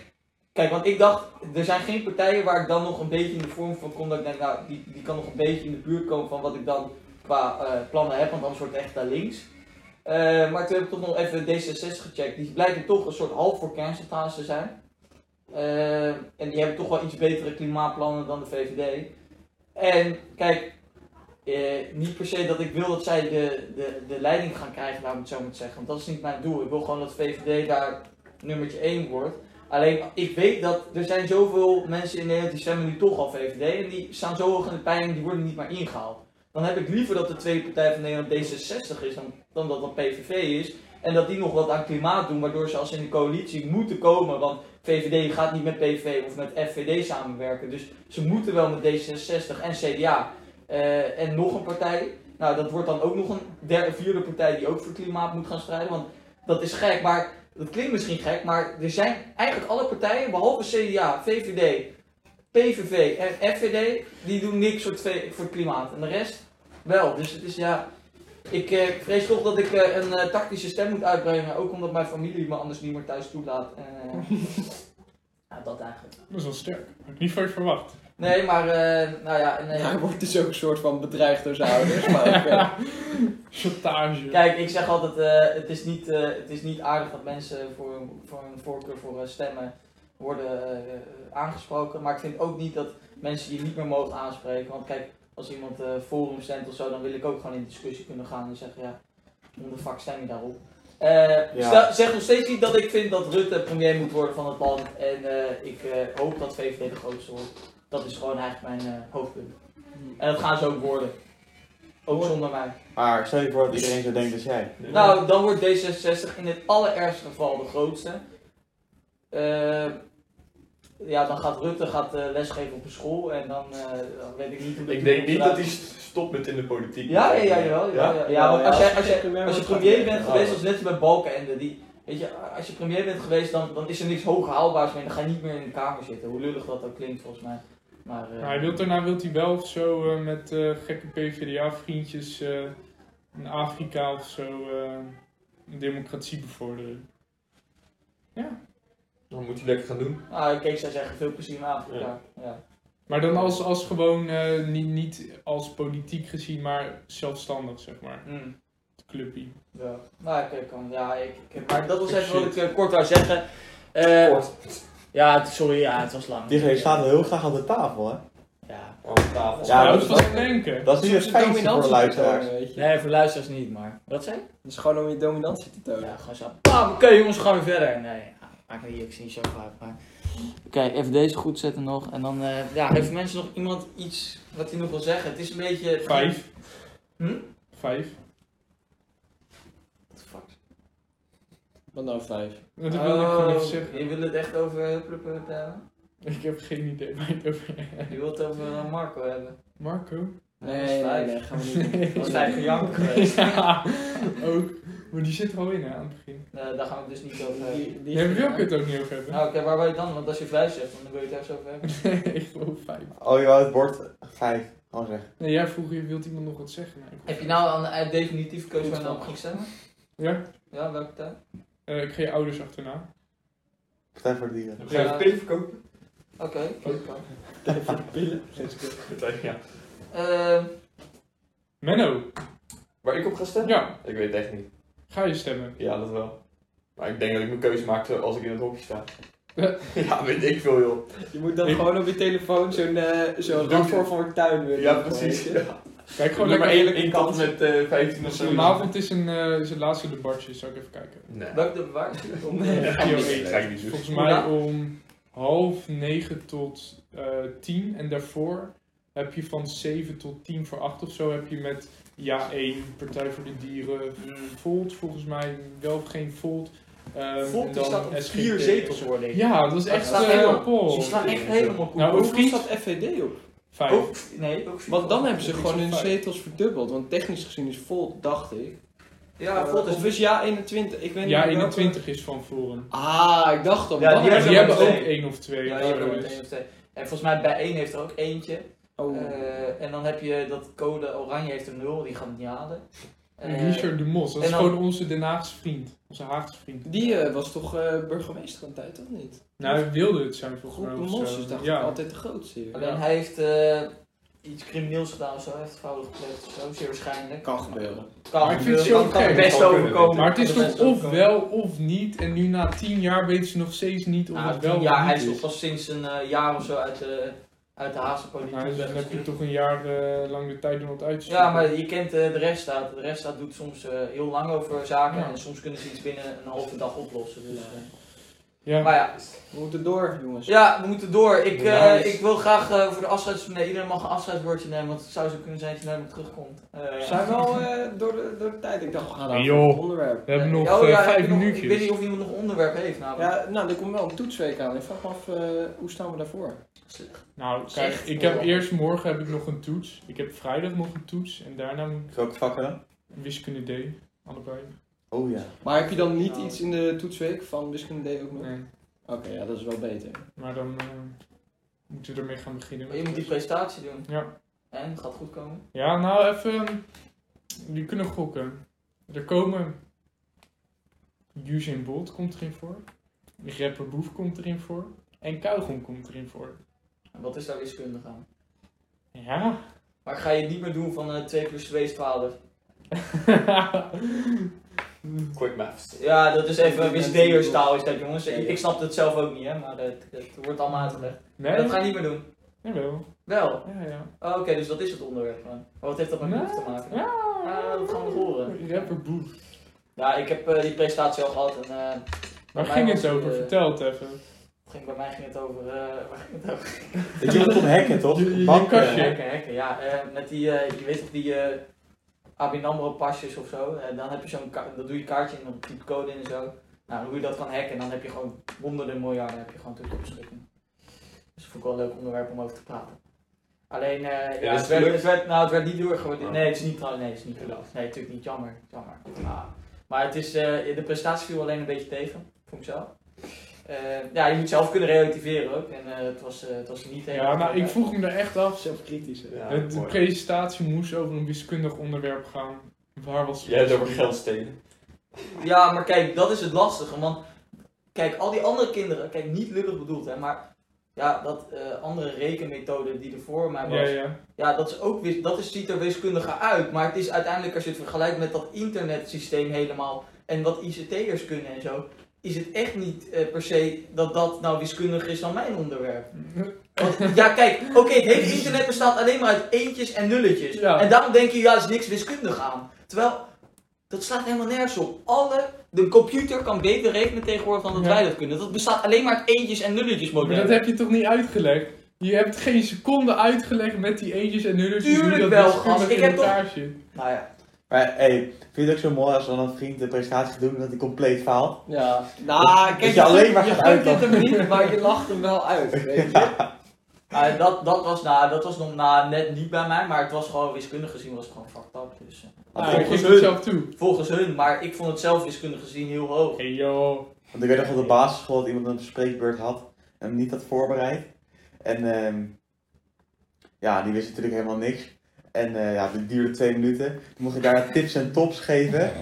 Kijk, want ik dacht, er zijn geen partijen waar ik dan nog een beetje in de vorm van kom. Dat ik denk, nou, die, die kan nog een beetje in de buurt komen van wat ik dan qua eh, plannen heb, want anders wordt het echt naar links. Eh, maar toen heb ik toch nog even D66 gecheckt. Die blijken toch een soort half voor kerncentrales te zijn. Eh, en die hebben toch wel iets betere klimaatplannen dan de VVD. En kijk, eh, niet per se dat ik wil dat zij de, de, de leiding gaan krijgen, laat ik het zo maar zeggen. Want dat is niet mijn doel. Ik wil gewoon dat VVD daar nummertje 1 wordt. Alleen, ik weet dat er zijn zoveel mensen in Nederland die stemmen nu toch al VVD. En die staan zo hoog in de peiling, die worden niet maar ingehaald. Dan heb ik liever dat de tweede partij van Nederland D66 is dan, dan dat dat PVV is. En dat die nog wat aan klimaat doen, waardoor ze als in de coalitie moeten komen. Want VVD gaat niet met PVV of met FVD samenwerken. Dus ze moeten wel met D66 en CDA. eh, en nog een partij. Nou, dat wordt dan ook nog een derde, vierde partij die ook voor klimaat moet gaan strijden. Want dat is gek, maar dat klinkt misschien gek, maar er zijn eigenlijk alle partijen, behalve CDA, VVD, PVV en FVD, die doen niks voor het, vee- voor het klimaat. En de rest wel. Dus het is ja. Ik eh, ik vrees toch dat ik eh, een eh, tactische stem moet uitbrengen. Ook omdat mijn familie me anders niet meer thuis toelaat. Eh, ja, dat eigenlijk.
Dat is wel sterk. Had ik niet van je verwacht.
Nee, maar eh, nou ja. Nee.
Hij wordt dus ook een soort van bedreigd door zijn ouders. Maar oké.
Chantage.
Kijk, ik zeg altijd, eh, het, is niet, eh, het is niet aardig dat mensen voor, hun- voor hun voorkeur voor eh, stemmen worden eh, eh, aangesproken. Maar ik vind ook niet dat mensen je niet meer mogen aanspreken. Want kijk, als iemand eh, forum stemt of zo, dan wil ik ook gewoon in discussie kunnen gaan en zeggen, ja, hoe de fuck stem je daarop? Eh,
Ja.
sta- Zeg nog steeds niet dat ik vind dat Rutte premier moet worden van het land. En eh, ik eh, hoop dat VVD de grootste wordt. Dat is gewoon eigenlijk mijn eh, hoofdpunt. En dat gaan ze ook worden. Ook zonder mij.
Maar stel je voor dat iedereen zo denkt als jij.
Nou, dan wordt D66 in het allerergste geval de grootste. Eh, ja, dan gaat Rutte gaat, eh, lesgeven op een school en dan, eh, dan weet ik niet hoe
Ik denk niet dat
hij.
hij st- stopt met in de politiek.
Ja, ja, ja, jawel, ja, ja, ja, want als, jij, als, je, als je premier bent
Ja.
geweest, als net als bij Balkenende, die, weet je, als je premier bent geweest, dan, dan is er niks hoger haalbaars meer, dan ga je niet meer in de kamer zitten, hoe lullig dat ook klinkt volgens mij. Maar, eh,
Maar hij wil, daarna wil hij wel of zo eh, met eh, gekke PvdA-vriendjes eh, in Afrika of zo eh, een democratie bevorderen.
Dan moet hij lekker gaan doen.
nou, kijk, zij zeggen veel plezier in Afrika. Ja.
Maar dan als, als gewoon eh, niet, niet als politiek gezien, maar zelfstandig, zeg maar.
Mm.
Het clubpie.
Ja, nou, ik ik kan. Ja, ik, ik- maar
Oh,
dat was even wat ik eh, kort wou zeggen. Eh, Ja, het- sorry, ja, het was lang.
Diegene staat heel graag aan de tafel, hè?
Ja.
tafel.
Ja,
maar
dat-
dat is wat ik denken.
Dat is niet het fijnste voor de luisteraars.
weet je.
Nee, voor luisteraars niet, maar. Wat zei je?
Dat is gewoon om je dominantie te tonen.
Ja, gewoon zo. Bam, oké jongens, we gaan weer verder. Nee, ja, maakt niet, ik zie niet zo vaak. Maar... Oké, even deze goed zetten nog. En dan, eh, ja, heeft mensen nog iemand iets wat hij nog wil zeggen? Het is een beetje.
Vijf.
Hm?
Vijf.
What the fuck?
Wat nou vijf?
Dat wilde ik gewoon even zeggen.
Oh, Je wil het echt over Pluppen hebben?
Ik heb geen idee waar je het over hebt.
Je wilt het over eh, Marco hebben.
Marco?
Dat is
Nee, nee,
vijf.
nee, gaan we niet doen.
Dat is vijf gejank geweest.
ja, ook. Maar die zit er al in hè, aan het begin.
Eh, daar gaan we het dus niet over hebben.
Die- die-
Die wil ik het ook niet over hebben.
Nou, oké, waar wil je het dan? Want als je vijf zegt, dan wil je het ergens over hebben.
Nee, ik geloof vijf.
Oh, je wou het bord 5
Oh,
gewoon zeggen.
Nee, jij vroeg je, wilt iemand nog wat zeggen? Nee, ik-
Heb je nou al een eh, definitieve keuze waar je dan op ging stemmen?
Ja?
Ja, welke tijd?
Eh, ik ga je ouders achterna.
Partij voor de dieren.
Ga je pillen verkopen?
Oké, kijk dan.
Ja.
Ehm,
Menno,
Waar ik op ga stemmen?
ja,
Ik weet het echt niet.
ga je stemmen?
Ja, dat wel. Maar ik denk dat ik mijn keuze maak als ik in het hokje sta. ja, weet ik veel joh.
Je moet dan
Ik-
gewoon op je telefoon zo'n eh, zo'n
Doe-
rapport voor een tuin willen.
Ja, precies. Ja.
Kijk gewoon
Nummer
lekker
1
eerlijk.
in tot en met eh 15 of zo.
Vanavond is een, eh, is het laatste debatje, zal ik even kijken.
Nee.
welke de waar? Om, eh,
Nee.
Ja, nee, ga ik niet doen.
Volgens
Hoe
mij
laat?
om half negen tot eh, tien. En daarvoor heb je van zeven tot tien voor acht of zo heb je met Ja 1, Partij voor de Dieren, Volt volgens mij, wel of geen Volt. Ehm, en
Volt die
dan
staat op
SGP.
vier zetels worden.
Ja, dat is echt
slaat
eh,
helemaal-
Paul.
Die slaan echt helemaal goed.
Nou,
Hoe
ook Fries.
staat FVD op?
Vijf.
Ook, nee, ook
Want dan hebben ze
Fries
gewoon
op
hun
vijf.
zetels verdubbeld. Want technisch gezien is vol, dacht ik.
Ja,
Eh,
Volt is
Of is ja 21. Ik weet niet
Ja,
welke-
21 is van Forum.
Ah, ik dacht al.
Ja,
dan
die
Maar
hebben
die
ze
hebben
maar
ook
twee.
twee.
één of twee.
Ja,
of
je
zo,
hebt er
dus-
meteen of twee. En volgens mij bij één heeft er ook eentje.
Oh.
Eh, en dan heb je dat code oranje heeft een nul, die gaat het niet halen.
En
Eh,
Richard de Mos, dat
en
is
dan-
gewoon onze Den Haagse vriend. Onze Haagse vriend.
Die eh, was toch eh, burgemeester een tijd, of niet?
Nou, hij wilde het zijn volgens
Groep
mij. of
de
zo.
Mos is dacht ik
eh, ja.
altijd de grootste hier.
Alleen hij heeft eh, iets crimineels gedaan of zo, hij heeft fraude gepleegd of zo, zeer waarschijnlijk.
Kan gebeuren.
Kan,
Maar ik vind het zo
kan, kan
gek.
best
Kan kunnen,
overkomen.
Maar het is
Kan best
toch of
overkomen.
wel of niet. En nu na tien jaar weten ze nog steeds niet of
Nou,
het wel of
ja,
niet
hij is toch
is.
pas sinds een eh, jaar of zo uit de, uit de Haagse politiek.
Nou, dus dan heb je
weggestuurd.
toch een jaar eh, lang de tijd om het uit te
ja,
zoeken.
maar je kent eh, de rechtsstaat. De rechtsstaat doet soms eh, heel lang over zaken
Ja.
en soms kunnen ze iets binnen een halve dag oplossen. Dus, eh,
Ja.
Maar ja,
We moeten door, jongens.
ja, we moeten door. Ik, eh,
Helaas.
ik wil graag eh, voor de afscheids... Nee, iedereen mag een afscheidswoordje nemen, want het zou zo kunnen zijn dat je naar me terugkomt. Eh,
We zijn wel eh, door, de, door de tijd. Ik dacht, we
Hey,
gaan over het
joh.
onderwerp.
We hebben
eh,
nog
oh,
eh,
ja, heb
vijf
je nog- Ik weet
minuutjes.
niet of iemand nog een onderwerp heeft namelijk.
Ja, nou, er komt wel een toetsweek aan. Ik vraag me af, eh, hoe staan we daarvoor?
Nou, kijk,
Echt?
ik heb eerst morgen heb ik nog een toets. Ik heb vrijdag nog een toets. En daarna moet ik
Welke vakken dan?
wiskunde D. Allebei.
Oh ja.
Maar heb je dan niet
Nou.
iets in de toetsweek van wiskunde D ook nog?
Nee.
Oké, ja, dat is wel beter.
Maar dan eh, moeten we ermee gaan beginnen.
Maar je moet die presentatie doen.
Ja.
En, gaat goed komen.
Ja, nou even. Jullie kunnen gokken. Er komen. Usain Bolt komt erin voor. Rapper Boef komt erin voor. En Kauwgom komt erin voor.
En wat is daar wiskundig aan?
Ja.
Maar ik ga je niet meer doen van eh 2 plus 2 is 12.
Quick maths.
Ja, dat is even wisdeerstaal is dat jongens. Ik, ik snap het zelf ook niet hè, maar het, het wordt allemaal uitgelegd. Dat
nee,
ga je niet meer doen.
jawel.
Wel.
Ja, ja.
Oh, Oké, dus dat is het onderwerp gewoon. Maar wat heeft dat met
Nee.
boef te maken?
Ja.
Ah, dat gaan we nog horen.
Rapper Boef.
Ja, ik heb eh, die presentatie al gehad en eh,
Waar
Bij
ging
mij
het
was,
over?
eh,
Vertel het even.
ging, bij mij ging het over... eh, waar ging het over?
Dat jullie het om hacken toch?
Je- je- je
Banken.
kastje.
Hekken, hekken, ja. Eh, met die, eh, je weet toch die eh ABN AMRO pasjes of zo. En dan heb je zo'n ka- dan doe je kaartje en dan typ code in en zo. Nou, hoe je dat kan hacken, dan heb je gewoon honderden miljarden heb je gewoon toekomstdrukken. Dus dat vond ik wel een leuk onderwerp om over te praten. Alleen, eh, ja,
is
het, werd,
gelukt?
het, werd, nou, het werd niet doorgewaardeerd.
Oh.
Nee, het is niet trouwens. Nee, het is niet gelukt. Nee, natuurlijk niet. Jammer. Jammer. Ah. Maar het is, eh, de prestatie viel alleen een beetje tegen, vond ik zelf. Eh, ja, je moet zelf kunnen relativeren ook. En eh, het, was, eh, het was niet
Ja, nou, ik vroeg me er echt af.
Zelfkritisch. hè.
Ja,
Het- De
mooi.
presentatie moest over een wiskundig onderwerp gaan. Waar was
Jij hebt over geld stelen.
Ja, maar kijk, dat is het lastige. Want kijk, al die andere kinderen, kijk, niet lullig bedoeld, hè, maar ja, dat eh, andere rekenmethode die er voor mij was,
Ja,
ja,
ja.
dat, is ook, wis- dat is, ziet er wiskundiger uit. Maar het is uiteindelijk, als je het vergelijkt met dat internetsysteem helemaal en wat ICT'ers kunnen en zo, is het echt niet eh, per se dat dat nou wiskundiger is dan mijn onderwerp. Want, ja, kijk, oké, het hele internet bestaat alleen maar uit eentjes en nulletjes.
Ja.
En daarom denk je, ja, er is niks wiskundig aan. Terwijl, dat slaat helemaal nergens op. Alle, de computer kan beter rekenen tegenwoordig dan dat
Ja.
wij dat kunnen. Dat bestaat alleen maar uit eentjes en nulletjes
Maar
modellen.
dat heb je toch niet uitgelegd? Je hebt geen seconde uitgelegd met die eentjes en nulletjes. hoe
Tuurlijk
dat
wel,
wiskundig
gast. Ik
in
heb toch-
elkaar zit.
Nou ja,
Maar hey, vind je het ook zo mooi als dan een vriend de presentatie gaat doen en dat hij compleet faalt?
Ja, nou,
je
kijk, je,
alleen
alleen
maar
je
gaat
gunt het hem niet, maar je lacht hem wel uit, weet je.
Nou ja, dat, dat was, nou, dat was nog nou, net niet bij mij, maar het was gewoon wiskundig gezien was het gewoon fucked up. Dus, eh,
Want
Nou, ik
ik,
geef het zelf toe.
volgens hun, maar ik vond het zelf wiskundig gezien heel hoog.
Hey joh.
want ik weet nog op de basisschool dat iemand een spreekbeurt had en hem niet had voorbereid. En ehm, ja, die wist natuurlijk helemaal niks. En eh, ja, dat duurde twee minuten. Toen mocht ik daar tips en tops geven.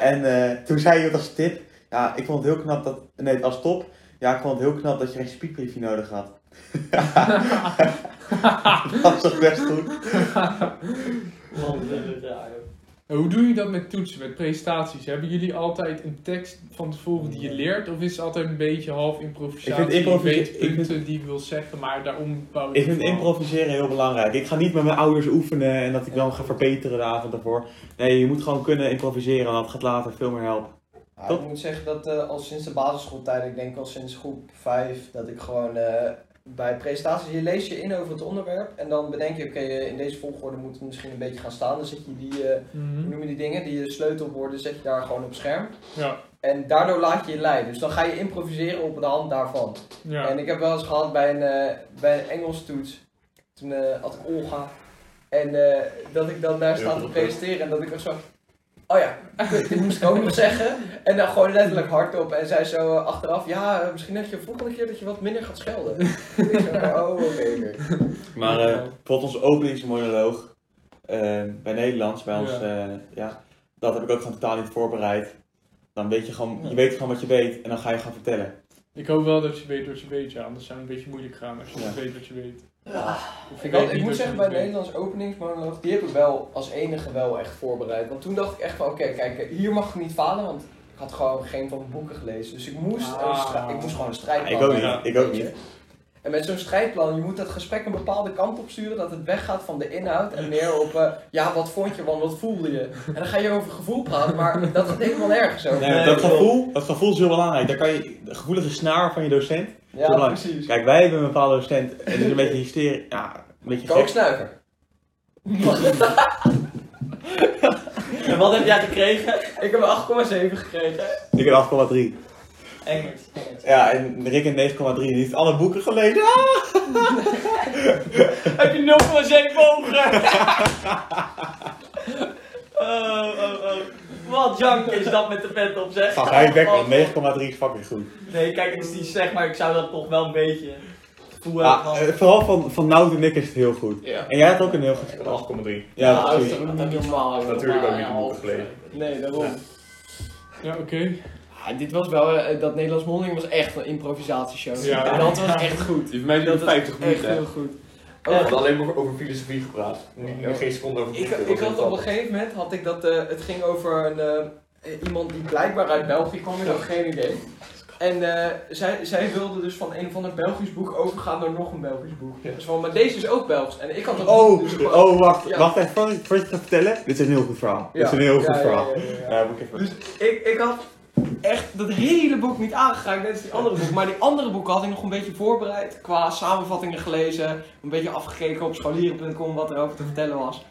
En eh, toen zei je als tip, ja, ik vond het heel knap dat, nee, als top, ja, ik vond het heel knap dat je geen speakbriefje nodig had. dat was toch best goed.
Want, eh, ja, joh.
En Nou, Hoe doe je dat met toetsen, met presentaties? Hebben jullie altijd een tekst van tevoren die je leert? Of is het altijd een beetje half improvisatie?
Ik vind improvisa-
Je weet
ik
punten die ik wil zeggen, maar daarom bouw je
Ik vind
het wel.
improviseren heel belangrijk. Ik ga niet met mijn ouders oefenen en dat ik dan ga verbeteren de avond daarvoor. Nee, je moet gewoon kunnen improviseren en dat gaat later veel meer helpen.
Ja,
Toch?
Ah, ik moet zeggen dat eh, al sinds de basisschooltijd, ik denk al sinds groep 5, dat ik gewoon eh, bij presentaties, je leest je in over het onderwerp en dan bedenk je, oké, eh, in deze volgorde moet het misschien een beetje gaan staan. Dan zet je die, eh, hoe
Mhm.
noem je die dingen, die eh, sleutelwoorden, zet je daar gewoon op scherm.
Ja,
En daardoor laat je je leiden. Dus dan ga je improviseren op de hand daarvan.
ja.
En ik heb wel eens gehad bij een, eh, bij een Engels toets. Toen eh, had ik Olga. En eh, dat ik dan daar sta te presenteren en dat ik ook zo... Oh ja, dit moest ik ook nog zeggen. En dan gewoon letterlijk hardop. En zij zo eh, achteraf, ja, eh, misschien dat je volgende keer dat je wat minder gaat schelden. ik zo, oh, oké. oké.
Maar eh bijvoorbeeld onze openingsmonoloog eh, bij Nederlands, bij ons,
Ja.
ja.
eh,
ja, dat heb ik ook gewoon totaal niet voorbereid. Dan weet je gewoon, je weet gewoon wat je weet en dan ga je gaan vertellen.
Ik hoop wel dat je weet wat je weet, ja. Anders zou het een beetje moeilijk gaan als je
Ja.
niet weet wat je weet. Of je
Ik,
weet
had-
niet
ik moet
wat je
zeggen, bij
niet
de
weet.
Nederlands openingsmonoloog, die heb ik wel als enige wel echt voorbereid. Want toen dacht ik echt van, oké, kijk, hier mag ik niet falen, want ik had gewoon geen van de boeken gelezen. Dus ik moest, een
Ah.
strij- ik moest gewoon een strijd
ik ook niet,
ja.
ik ook niet.
En met zo'n strijdplan, je moet dat gesprek een bepaalde kant op sturen dat het weggaat van de inhoud en meer op, eh, ja, wat vond je, want wat voelde je? En dan ga je over gevoel praten, maar dat gaat helemaal nergens over.
Nee, want dat, gevoel, dat gevoel is heel belangrijk. Daar kan je, de gevoelige snaar van je docent. heel
ja,
belangrijk.
precies.
Kijk, wij hebben een bepaalde docent en die is een beetje hysterisch. Ja, een beetje gek.
Kooksnuiver.
En wat heb jij gekregen?
Ik heb een 8,7 gekregen.
Ik heb 8,3.
Engels.
Ja, en Rick een 9,3. Die heeft alle boeken gelezen. Ah!
heb je 0,7 ogen? oh, oh, oh. Wat jank is dat met de pet op, zeg.
Ga hij weg, man. 9,3 is fucking goed.
Nee, kijk, het is niet slecht, maar ik zou dat toch wel een beetje voelen.
Ja,
van-
eh, vooral van, van Nout en ik is het heel goed.
Ja.
En jij hebt ook een heel goed
Ik had 8,3.
Ja,
Ah,
dat is
precies.
toch niet normaal. joh.
Natuurlijk ook niet
Ja,
de boeken gelezen.
Nee, daarom.
Ja, oké.
Ah, dit was wel, eh, dat Nederlands Mondeling was echt een improvisatieshow.
Ja.
En dat was echt goed.
Die van mij duurde
Dat was
50
echt
minuten. hè.
heel goed.
Oh,
Oh,
We hadden alleen maar over filosofie gepraat. Niet- niet- Geen seconde over
Ik,
boeken. Dat
ik
was
had
heel
op een
grappig.
gegeven moment, had ik dat, eh, het ging over een, eh, eh, iemand die blijkbaar uit België kwam, ik had geen idee. En eh, zij, zij wilde dus van een of ander Belgisch boek overgaan naar nog een Belgisch boek. Dus van, maar deze is ook Belgisch. En ik had dat
Oh,
boek dus gewoon-
oh, wacht.
Ja.
Wacht even, voor ik voor ik het ga vertellen. Dit is een heel goed verhaal. Dit is een heel
Ja,
goed
ja,
verhaal.
ja, ja, ja.
Ja, moet ik even...
Dus ik, ik had echt dat hele boek niet aangeraakt, net als die andere boek. Maar die andere boeken had ik nog een beetje voorbereid. Qua samenvattingen gelezen, een beetje afgekeken op scholieren.com wat er over te vertellen was.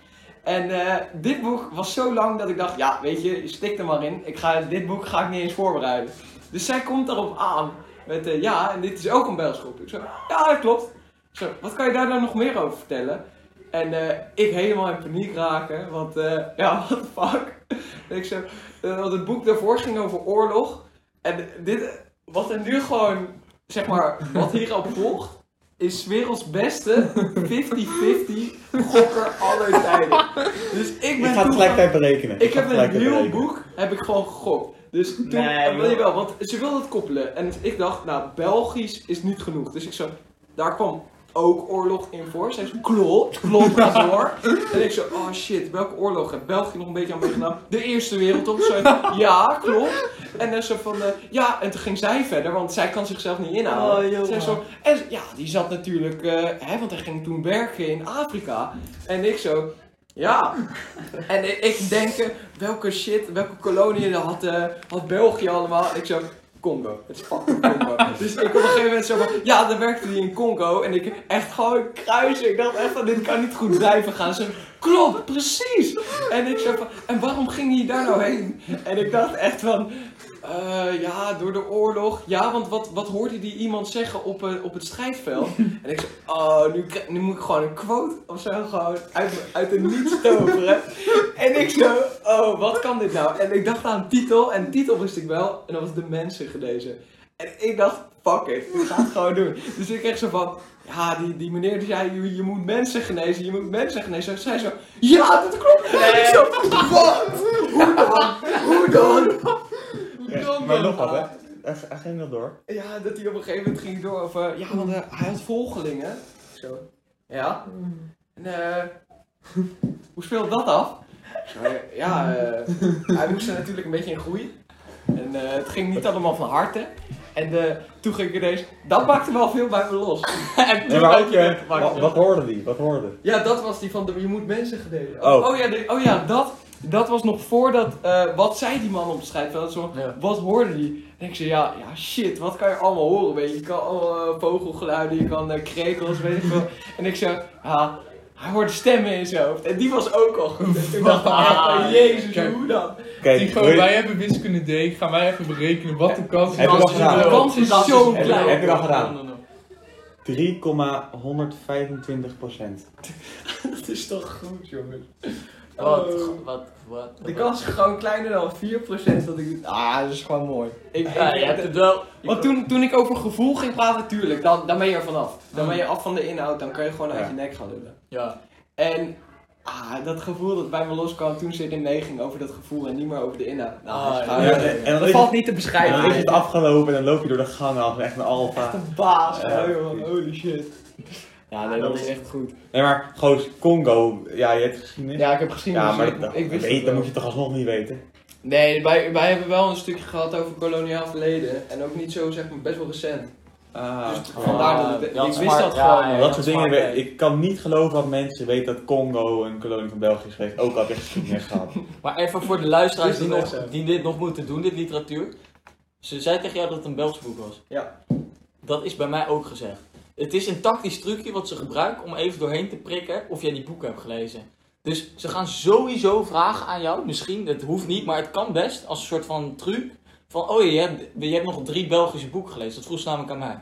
En eh, dit boek was zo lang dat ik dacht, ja weet je, stik er maar in. Ik ga, dit boek ga ik niet eens voorbereiden. Dus zij komt daarop aan met, eh, ja, en dit is ook een Bijlsgroep. Ik zo, ja dat klopt. Ik Zo, wat kan je daar nou nog meer over vertellen? En eh, ik helemaal in paniek raken, want eh, ja, what the fuck. En ik zo, eh, want het boek daarvoor ging over oorlog. En dit, wat er nu gewoon, zeg maar, wat hierop volgt, is 's werelds beste 50-50 gokker aller tijden. Dus ik ben
Ik ga het
toen
gelijktijd berekenen.
ik
ga het
heb een
gelijktijd
heel
berekenen.
boek heb ik gewoon gegokt. Dus toen,
Nee,
eh, wil je
joh.
wel, want ze wilde het koppelen. En ik dacht, nou, Belgisch is niet genoeg. Dus ik zo, daar kwam ook oorlog in voor. Zij zo, klopt, klopt, ga door. en ik zo, oh shit, welke oorlog heeft België nog een beetje aan meegedaan? De Eerste Wereldoorlog. Zo, ja, klopt. En dan zo van, eh, ja, en toen ging zij verder, want zij kan zichzelf niet
Oh,
inhouden.
joh.
zij zo, en ja, die zat natuurlijk, eh, hè, want hij ging toen werken in Afrika. En ik zo, ja, en i- ik denk, eh, welke shit, welke koloniën had, eh, had België allemaal? En ik zo, Congo. Het is fucking Congo. dus ik op een gegeven moment zo van, ja, dan werkte hij in Congo. En ik echt gewoon kruisen. Ik dacht echt van, dit kan niet goed blijven gaan. Ze klopt, precies. En ik zo van, en waarom ging hij daar nou heen? En ik dacht echt van, eh, ja, door de oorlog. Ja, want wat, wat hoorde die iemand zeggen op, eh, op het strijdveld? En ik zo, oh, nu, kri- nu moet ik gewoon een quote of zo gewoon uit, uit de niets toveren. En ik zo, oh, wat kan dit nou? En ik dacht aan een titel, en de titel wist ik wel, en dat was De Mensen gelezen. En ik dacht, fuck it, ik ga het gewoon doen. Dus ik echt zo van, ja, die, die meneer die zei, je, je moet mensen genezen, je moet mensen genezen. Zij zo, ja, dat klopt. En ik zo, wat? Hoe dan? Hoe dan? Hoe
Ja,
dan?
Maar nog wat, hè? Hij- Hij ging wel door.
Ja, dat hij op een gegeven moment ging door over, ja, want eh, hij had volgelingen. Zo. Ja. En eh, hoe speelt dat af? Maar, ja, eh, hij moest er natuurlijk een beetje in groeien. En eh, het ging niet allemaal van harte. En eh, toen ging ik ineens, dat maakte wel veel bij me los. en
Nee,
toen
maar
had
ook,
je
eh,
net te maken.
wat, wat hoorde die? Wat hoorde?
Ja, dat was die van de, je moet mensen gedelen.
Oh.
ja, de- oh ja dat, dat was nog voordat, eh, wat zei die man op het strijdveld? Zo, Wat hoorde die? En ik zei, ja, ja, shit, wat kan je allemaal horen, weet je? Je kan allemaal eh, vogelgeluiden, je kan eh, krekels, weet ik veel. En ik zei, ja, hij hoorde stemmen in zijn hoofd. En die was ook al goed. En toen dacht ik, echt, van, jezus,
Kijk.
hoe dan?
Oké,
Tycho,
wil je-
wij hebben wiskunde D. Gaan wij even berekenen wat de kans
Heb je dat
is.
gedaan?
De kans is zo
Heb je-
klein.
heb je dat gedaan? 3,125 procent.
Dat is toch goed, jongen.
Wat,
Oh.
wat, wat.
De kans is gewoon kleiner dan 4% dat ik... Ah, dat is gewoon mooi. Ik,
Ja,
ik-
je hebt het wel.
Want toen, toen ik over gevoel ging praten, tuurlijk, dan, dan ben je er vanaf. Dan
Hmm.
ben je af van de inhoud, dan kan je gewoon uit je nek gaan lullen.
Ja.
En ah, dat gevoel dat bij me loskwam toen ze in meeging over dat gevoel en niet meer over de inhoud. Nou,
Ah,
dat is
Ja,
gewoon-
en en dan
dat
is, Ah.
valt niet te
en dan
beschrijven.
is het afgelopen en dan loop je door de gangen als echt een alfa.
de baas.
Ja.
oh, joh, holy shit.
Ja, nee, dat is echt goed.
Nee, maar goos, Congo, ja, je hebt geschiedenis.
Ja, ik heb gezien,
Ja,
dus
maar
ik,
dat,
ik wist
weet,
het
dat
wel.
moet je toch alsnog niet weten.
Nee, wij, wij hebben wel een stukje gehad over koloniaal verleden. En ook niet zo, zeg maar, best wel recent.
Ah,
Dus vandaar dat ik,
Ja,
ik wist
smart.
dat
Ja,
gewoon.
ja,
dat soort dingen.
smart,
weet- Ik kan niet geloven dat mensen weten dat Congo een kolonie van België is geweest. Ook al heb je geschiedenis gehad.
Maar even voor de luisteraars
Dit is
die,
wel
nog,
echt zo.
die dit nog moeten doen, dit literatuur. Ze zei tegen jou dat het een Belgisch boek was.
Ja.
Dat is bij mij ook gezegd. Het is een tactisch trucje wat ze gebruiken om even doorheen te prikken of jij die boeken hebt gelezen. Dus ze gaan sowieso vragen aan jou, misschien, het hoeft niet, maar het kan best, als een soort van truc. Van, oh je hebt, je hebt nog drie Belgische boeken gelezen, dat vroeg ze namelijk aan mij.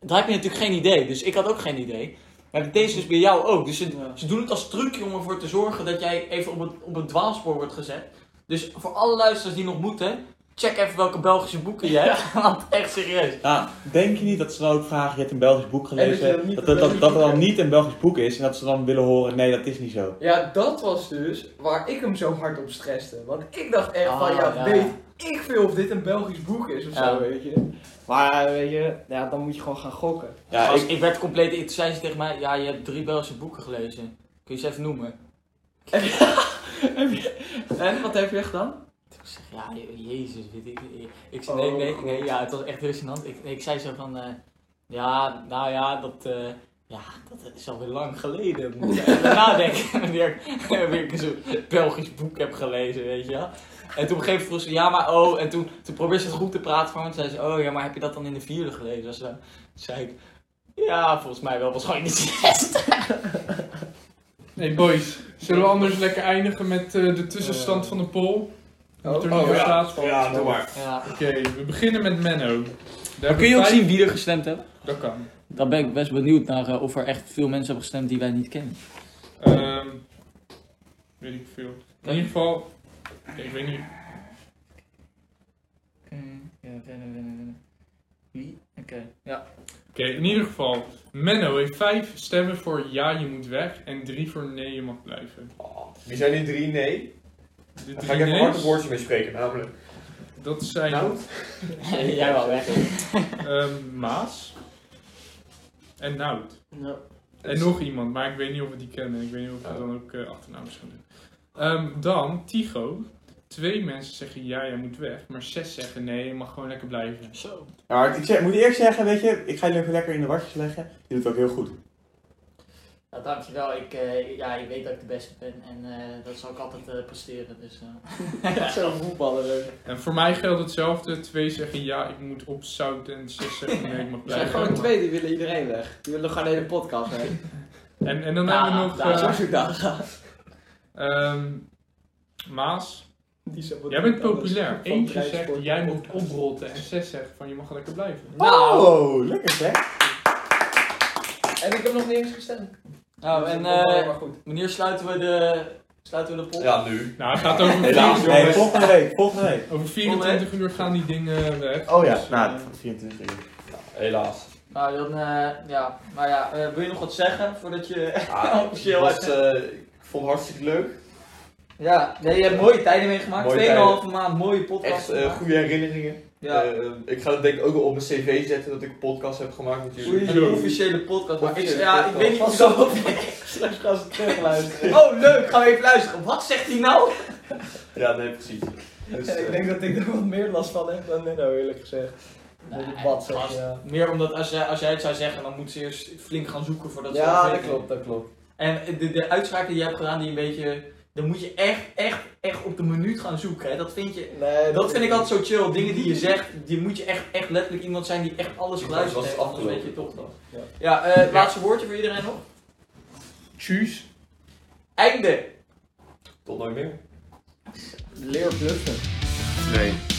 Daar heb je natuurlijk geen idee, dus ik had ook geen idee. Maar deze is bij jou ook. Dus ze, ze doen het als trucje om ervoor te zorgen dat jij even op het, op het dwaalspoor wordt gezet. Dus voor alle luisteraars die nog moeten, check even welke Belgische boeken je hebt. Want echt serieus.
Ja, Nou, denk je niet dat ze dan ook vragen, je hebt een Belgisch boek
je dan
gelezen,
niet
dat,
een
dat, dat,
Belgisch
dat het
boek
dan
hebt.
niet een Belgisch boek is en dat ze dan willen horen, nee dat is niet zo.
Ja, dat was dus waar ik hem zo hard op stresste. Want ik dacht echt van,
Ah,
ja,
ja.
weet ik veel of dit een Belgisch boek is of
Ja.
zo, weet je.
Maar weet je, ja, dan moet je gewoon gaan gokken.
Ja,
Gast,
ik,
ik... werd compleet, toen zei ze tegen mij, ja je hebt drie Belgische boeken gelezen. Kun je ze even noemen?
En, wat heb je gedaan?
Toen zeg ik, ja je- jezus, weet ik niet. Ik zei, nee, nee, nee, ja het was echt heel gênant. Ik, nee, ik zei zo van, eh, ja, nou ja, dat... eh, ja, dat is alweer lang geleden. Moet ik even nadenken wanneer, wanneer ik zo'n Belgisch boek heb gelezen, weet je wel. En toen op een gegeven moment vroeg ze, ja maar oh, en toen, toen probeerde ze het goed te praten voor me. Toen zei ze, oh ja, maar heb je dat dan in de vierde gelezen? Dus, eh, toen zei ik, ja, volgens mij wel, was gewoon in de zesde.
Hey boys, zullen we anders lekker eindigen met eh, de tussenstand van de poll? Moet er nog
Oh, ja.
plaats van.
Ja, doe maar.
Ja.
Oké, we beginnen met Menno. Daar
Kun je ook
hebben
zien wie er gestemd heeft?
vijf- Dat kan.
Dan ben ik best benieuwd naar eh, of er echt veel mensen hebben gestemd die wij niet kennen.
Ehm, weet ik veel. In ieder geval, ik weet niet.
Ja, winnen, winnen, winnen. Wie? Oké. Ja.
Oké, in ieder geval, Menno heeft vijf stemmen voor ja, je moet weg en drie voor nee, je mag blijven.
Wie zijn die drie nee?
De
Daar
drie
ga ik even
nee's,
hard een woordje mee spreken, namelijk.
Dat zijn
Nou,
Jij wel weg.
ehm, Maas en Nout.
Ja.
En nog iemand, maar ik weet niet of we die kennen. Ik weet niet of
Oh.
we dan ook eh achternaam gaan doen. Ehm, dan Tycho. Twee mensen zeggen ja, jij moet weg, maar zes zeggen nee, je mag gewoon lekker blijven.
Zo.
ja, maar ik zeg, moet eerst zeggen, weet je, ik ga jullie even lekker in de wasjes leggen. Je doet het ook heel goed.
Ja, Nou, dankjewel. Ik, eh, ja, ik weet dat ik de beste ben en eh, dat zal ik altijd eh, presteren. Dus, eh.
Zo voetballen leuk.
En voor mij geldt hetzelfde. Twee zeggen ja, ik moet opzouten en zes zeggen nee, ik mag
Er
blijven.
zijn gewoon twee, die willen iedereen weg. Die willen gewoon de hele podcast weg.
En, en dan
Ja,
hebben we nog
daar
eh,
Zo zoek dagen.
ehm, Maas.
Die
Jij bent populair.
Van
Eentje
Rijnsport.
zegt jij moet oprotten en zes zegt van je mag lekker blijven.
nou.
Oh, lekker zeg.
En ik heb nog niet eens gestemd.
nou,
Dus
en
dat komt wel
eh,
maar goed.
wanneer sluiten we de, sluiten we de pot?
Ja, nu.
Nou, het gaat over,
Helaas.
vier-
Nee, volgende week, volgende week.
over 24 uur gaan die dingen weg.
Oh ja,
Dus,
nou,
eh,
24 uur.
Helaas.
Nou, dan, eh, ja. Maar ja, eh, wil je nog wat zeggen voordat je...
Oh,
Ah,
Officieel
het was, eh, ik vond het hartstikke leuk.
Ja, nee, je hebt mooie tijden meegemaakt.
Mooie
Tweeënhalve maand, mooie podcast.
Echt eh, goede herinneringen.
ja.
Eh, ik ga dat denk ik ook wel op mijn cv zetten dat ik een podcast heb gemaakt natuurlijk.
Oei, een officiële podcast. Maar ik,
Officiële
ja, ik
podcast.
weet niet of dat...
Straks gaan ze terugluisteren.
Oh, leuk, gaan we even luisteren. Wat zegt hij nou?
Ja, nee, precies. Dus,
ik
eh,
denk dat ik er wat meer last van heb dan Nino, eerlijk gezegd. Dat ik bad zeg, ja.
Meer omdat als jij, als jij het zou zeggen, dan moet ze eerst flink gaan zoeken voordat ze
Ja,
het
dat
weten.
klopt, dat klopt.
En de, de uitspraken die je hebt gedaan, die een beetje... Dan moet je echt, echt, echt op de minuut gaan zoeken. Hè. Dat vind je...
Nee,
Dat vind ik altijd zo chill. Dingen die je zegt, die moet je echt, echt letterlijk iemand zijn die echt alles geluisterd heeft. Anders weet je toch nog.
Ja.
Ja, eh, het laatste woordje voor iedereen nog.
Tjus.
Einde.
tot nooit meer.
Leer bluffen.
Nee.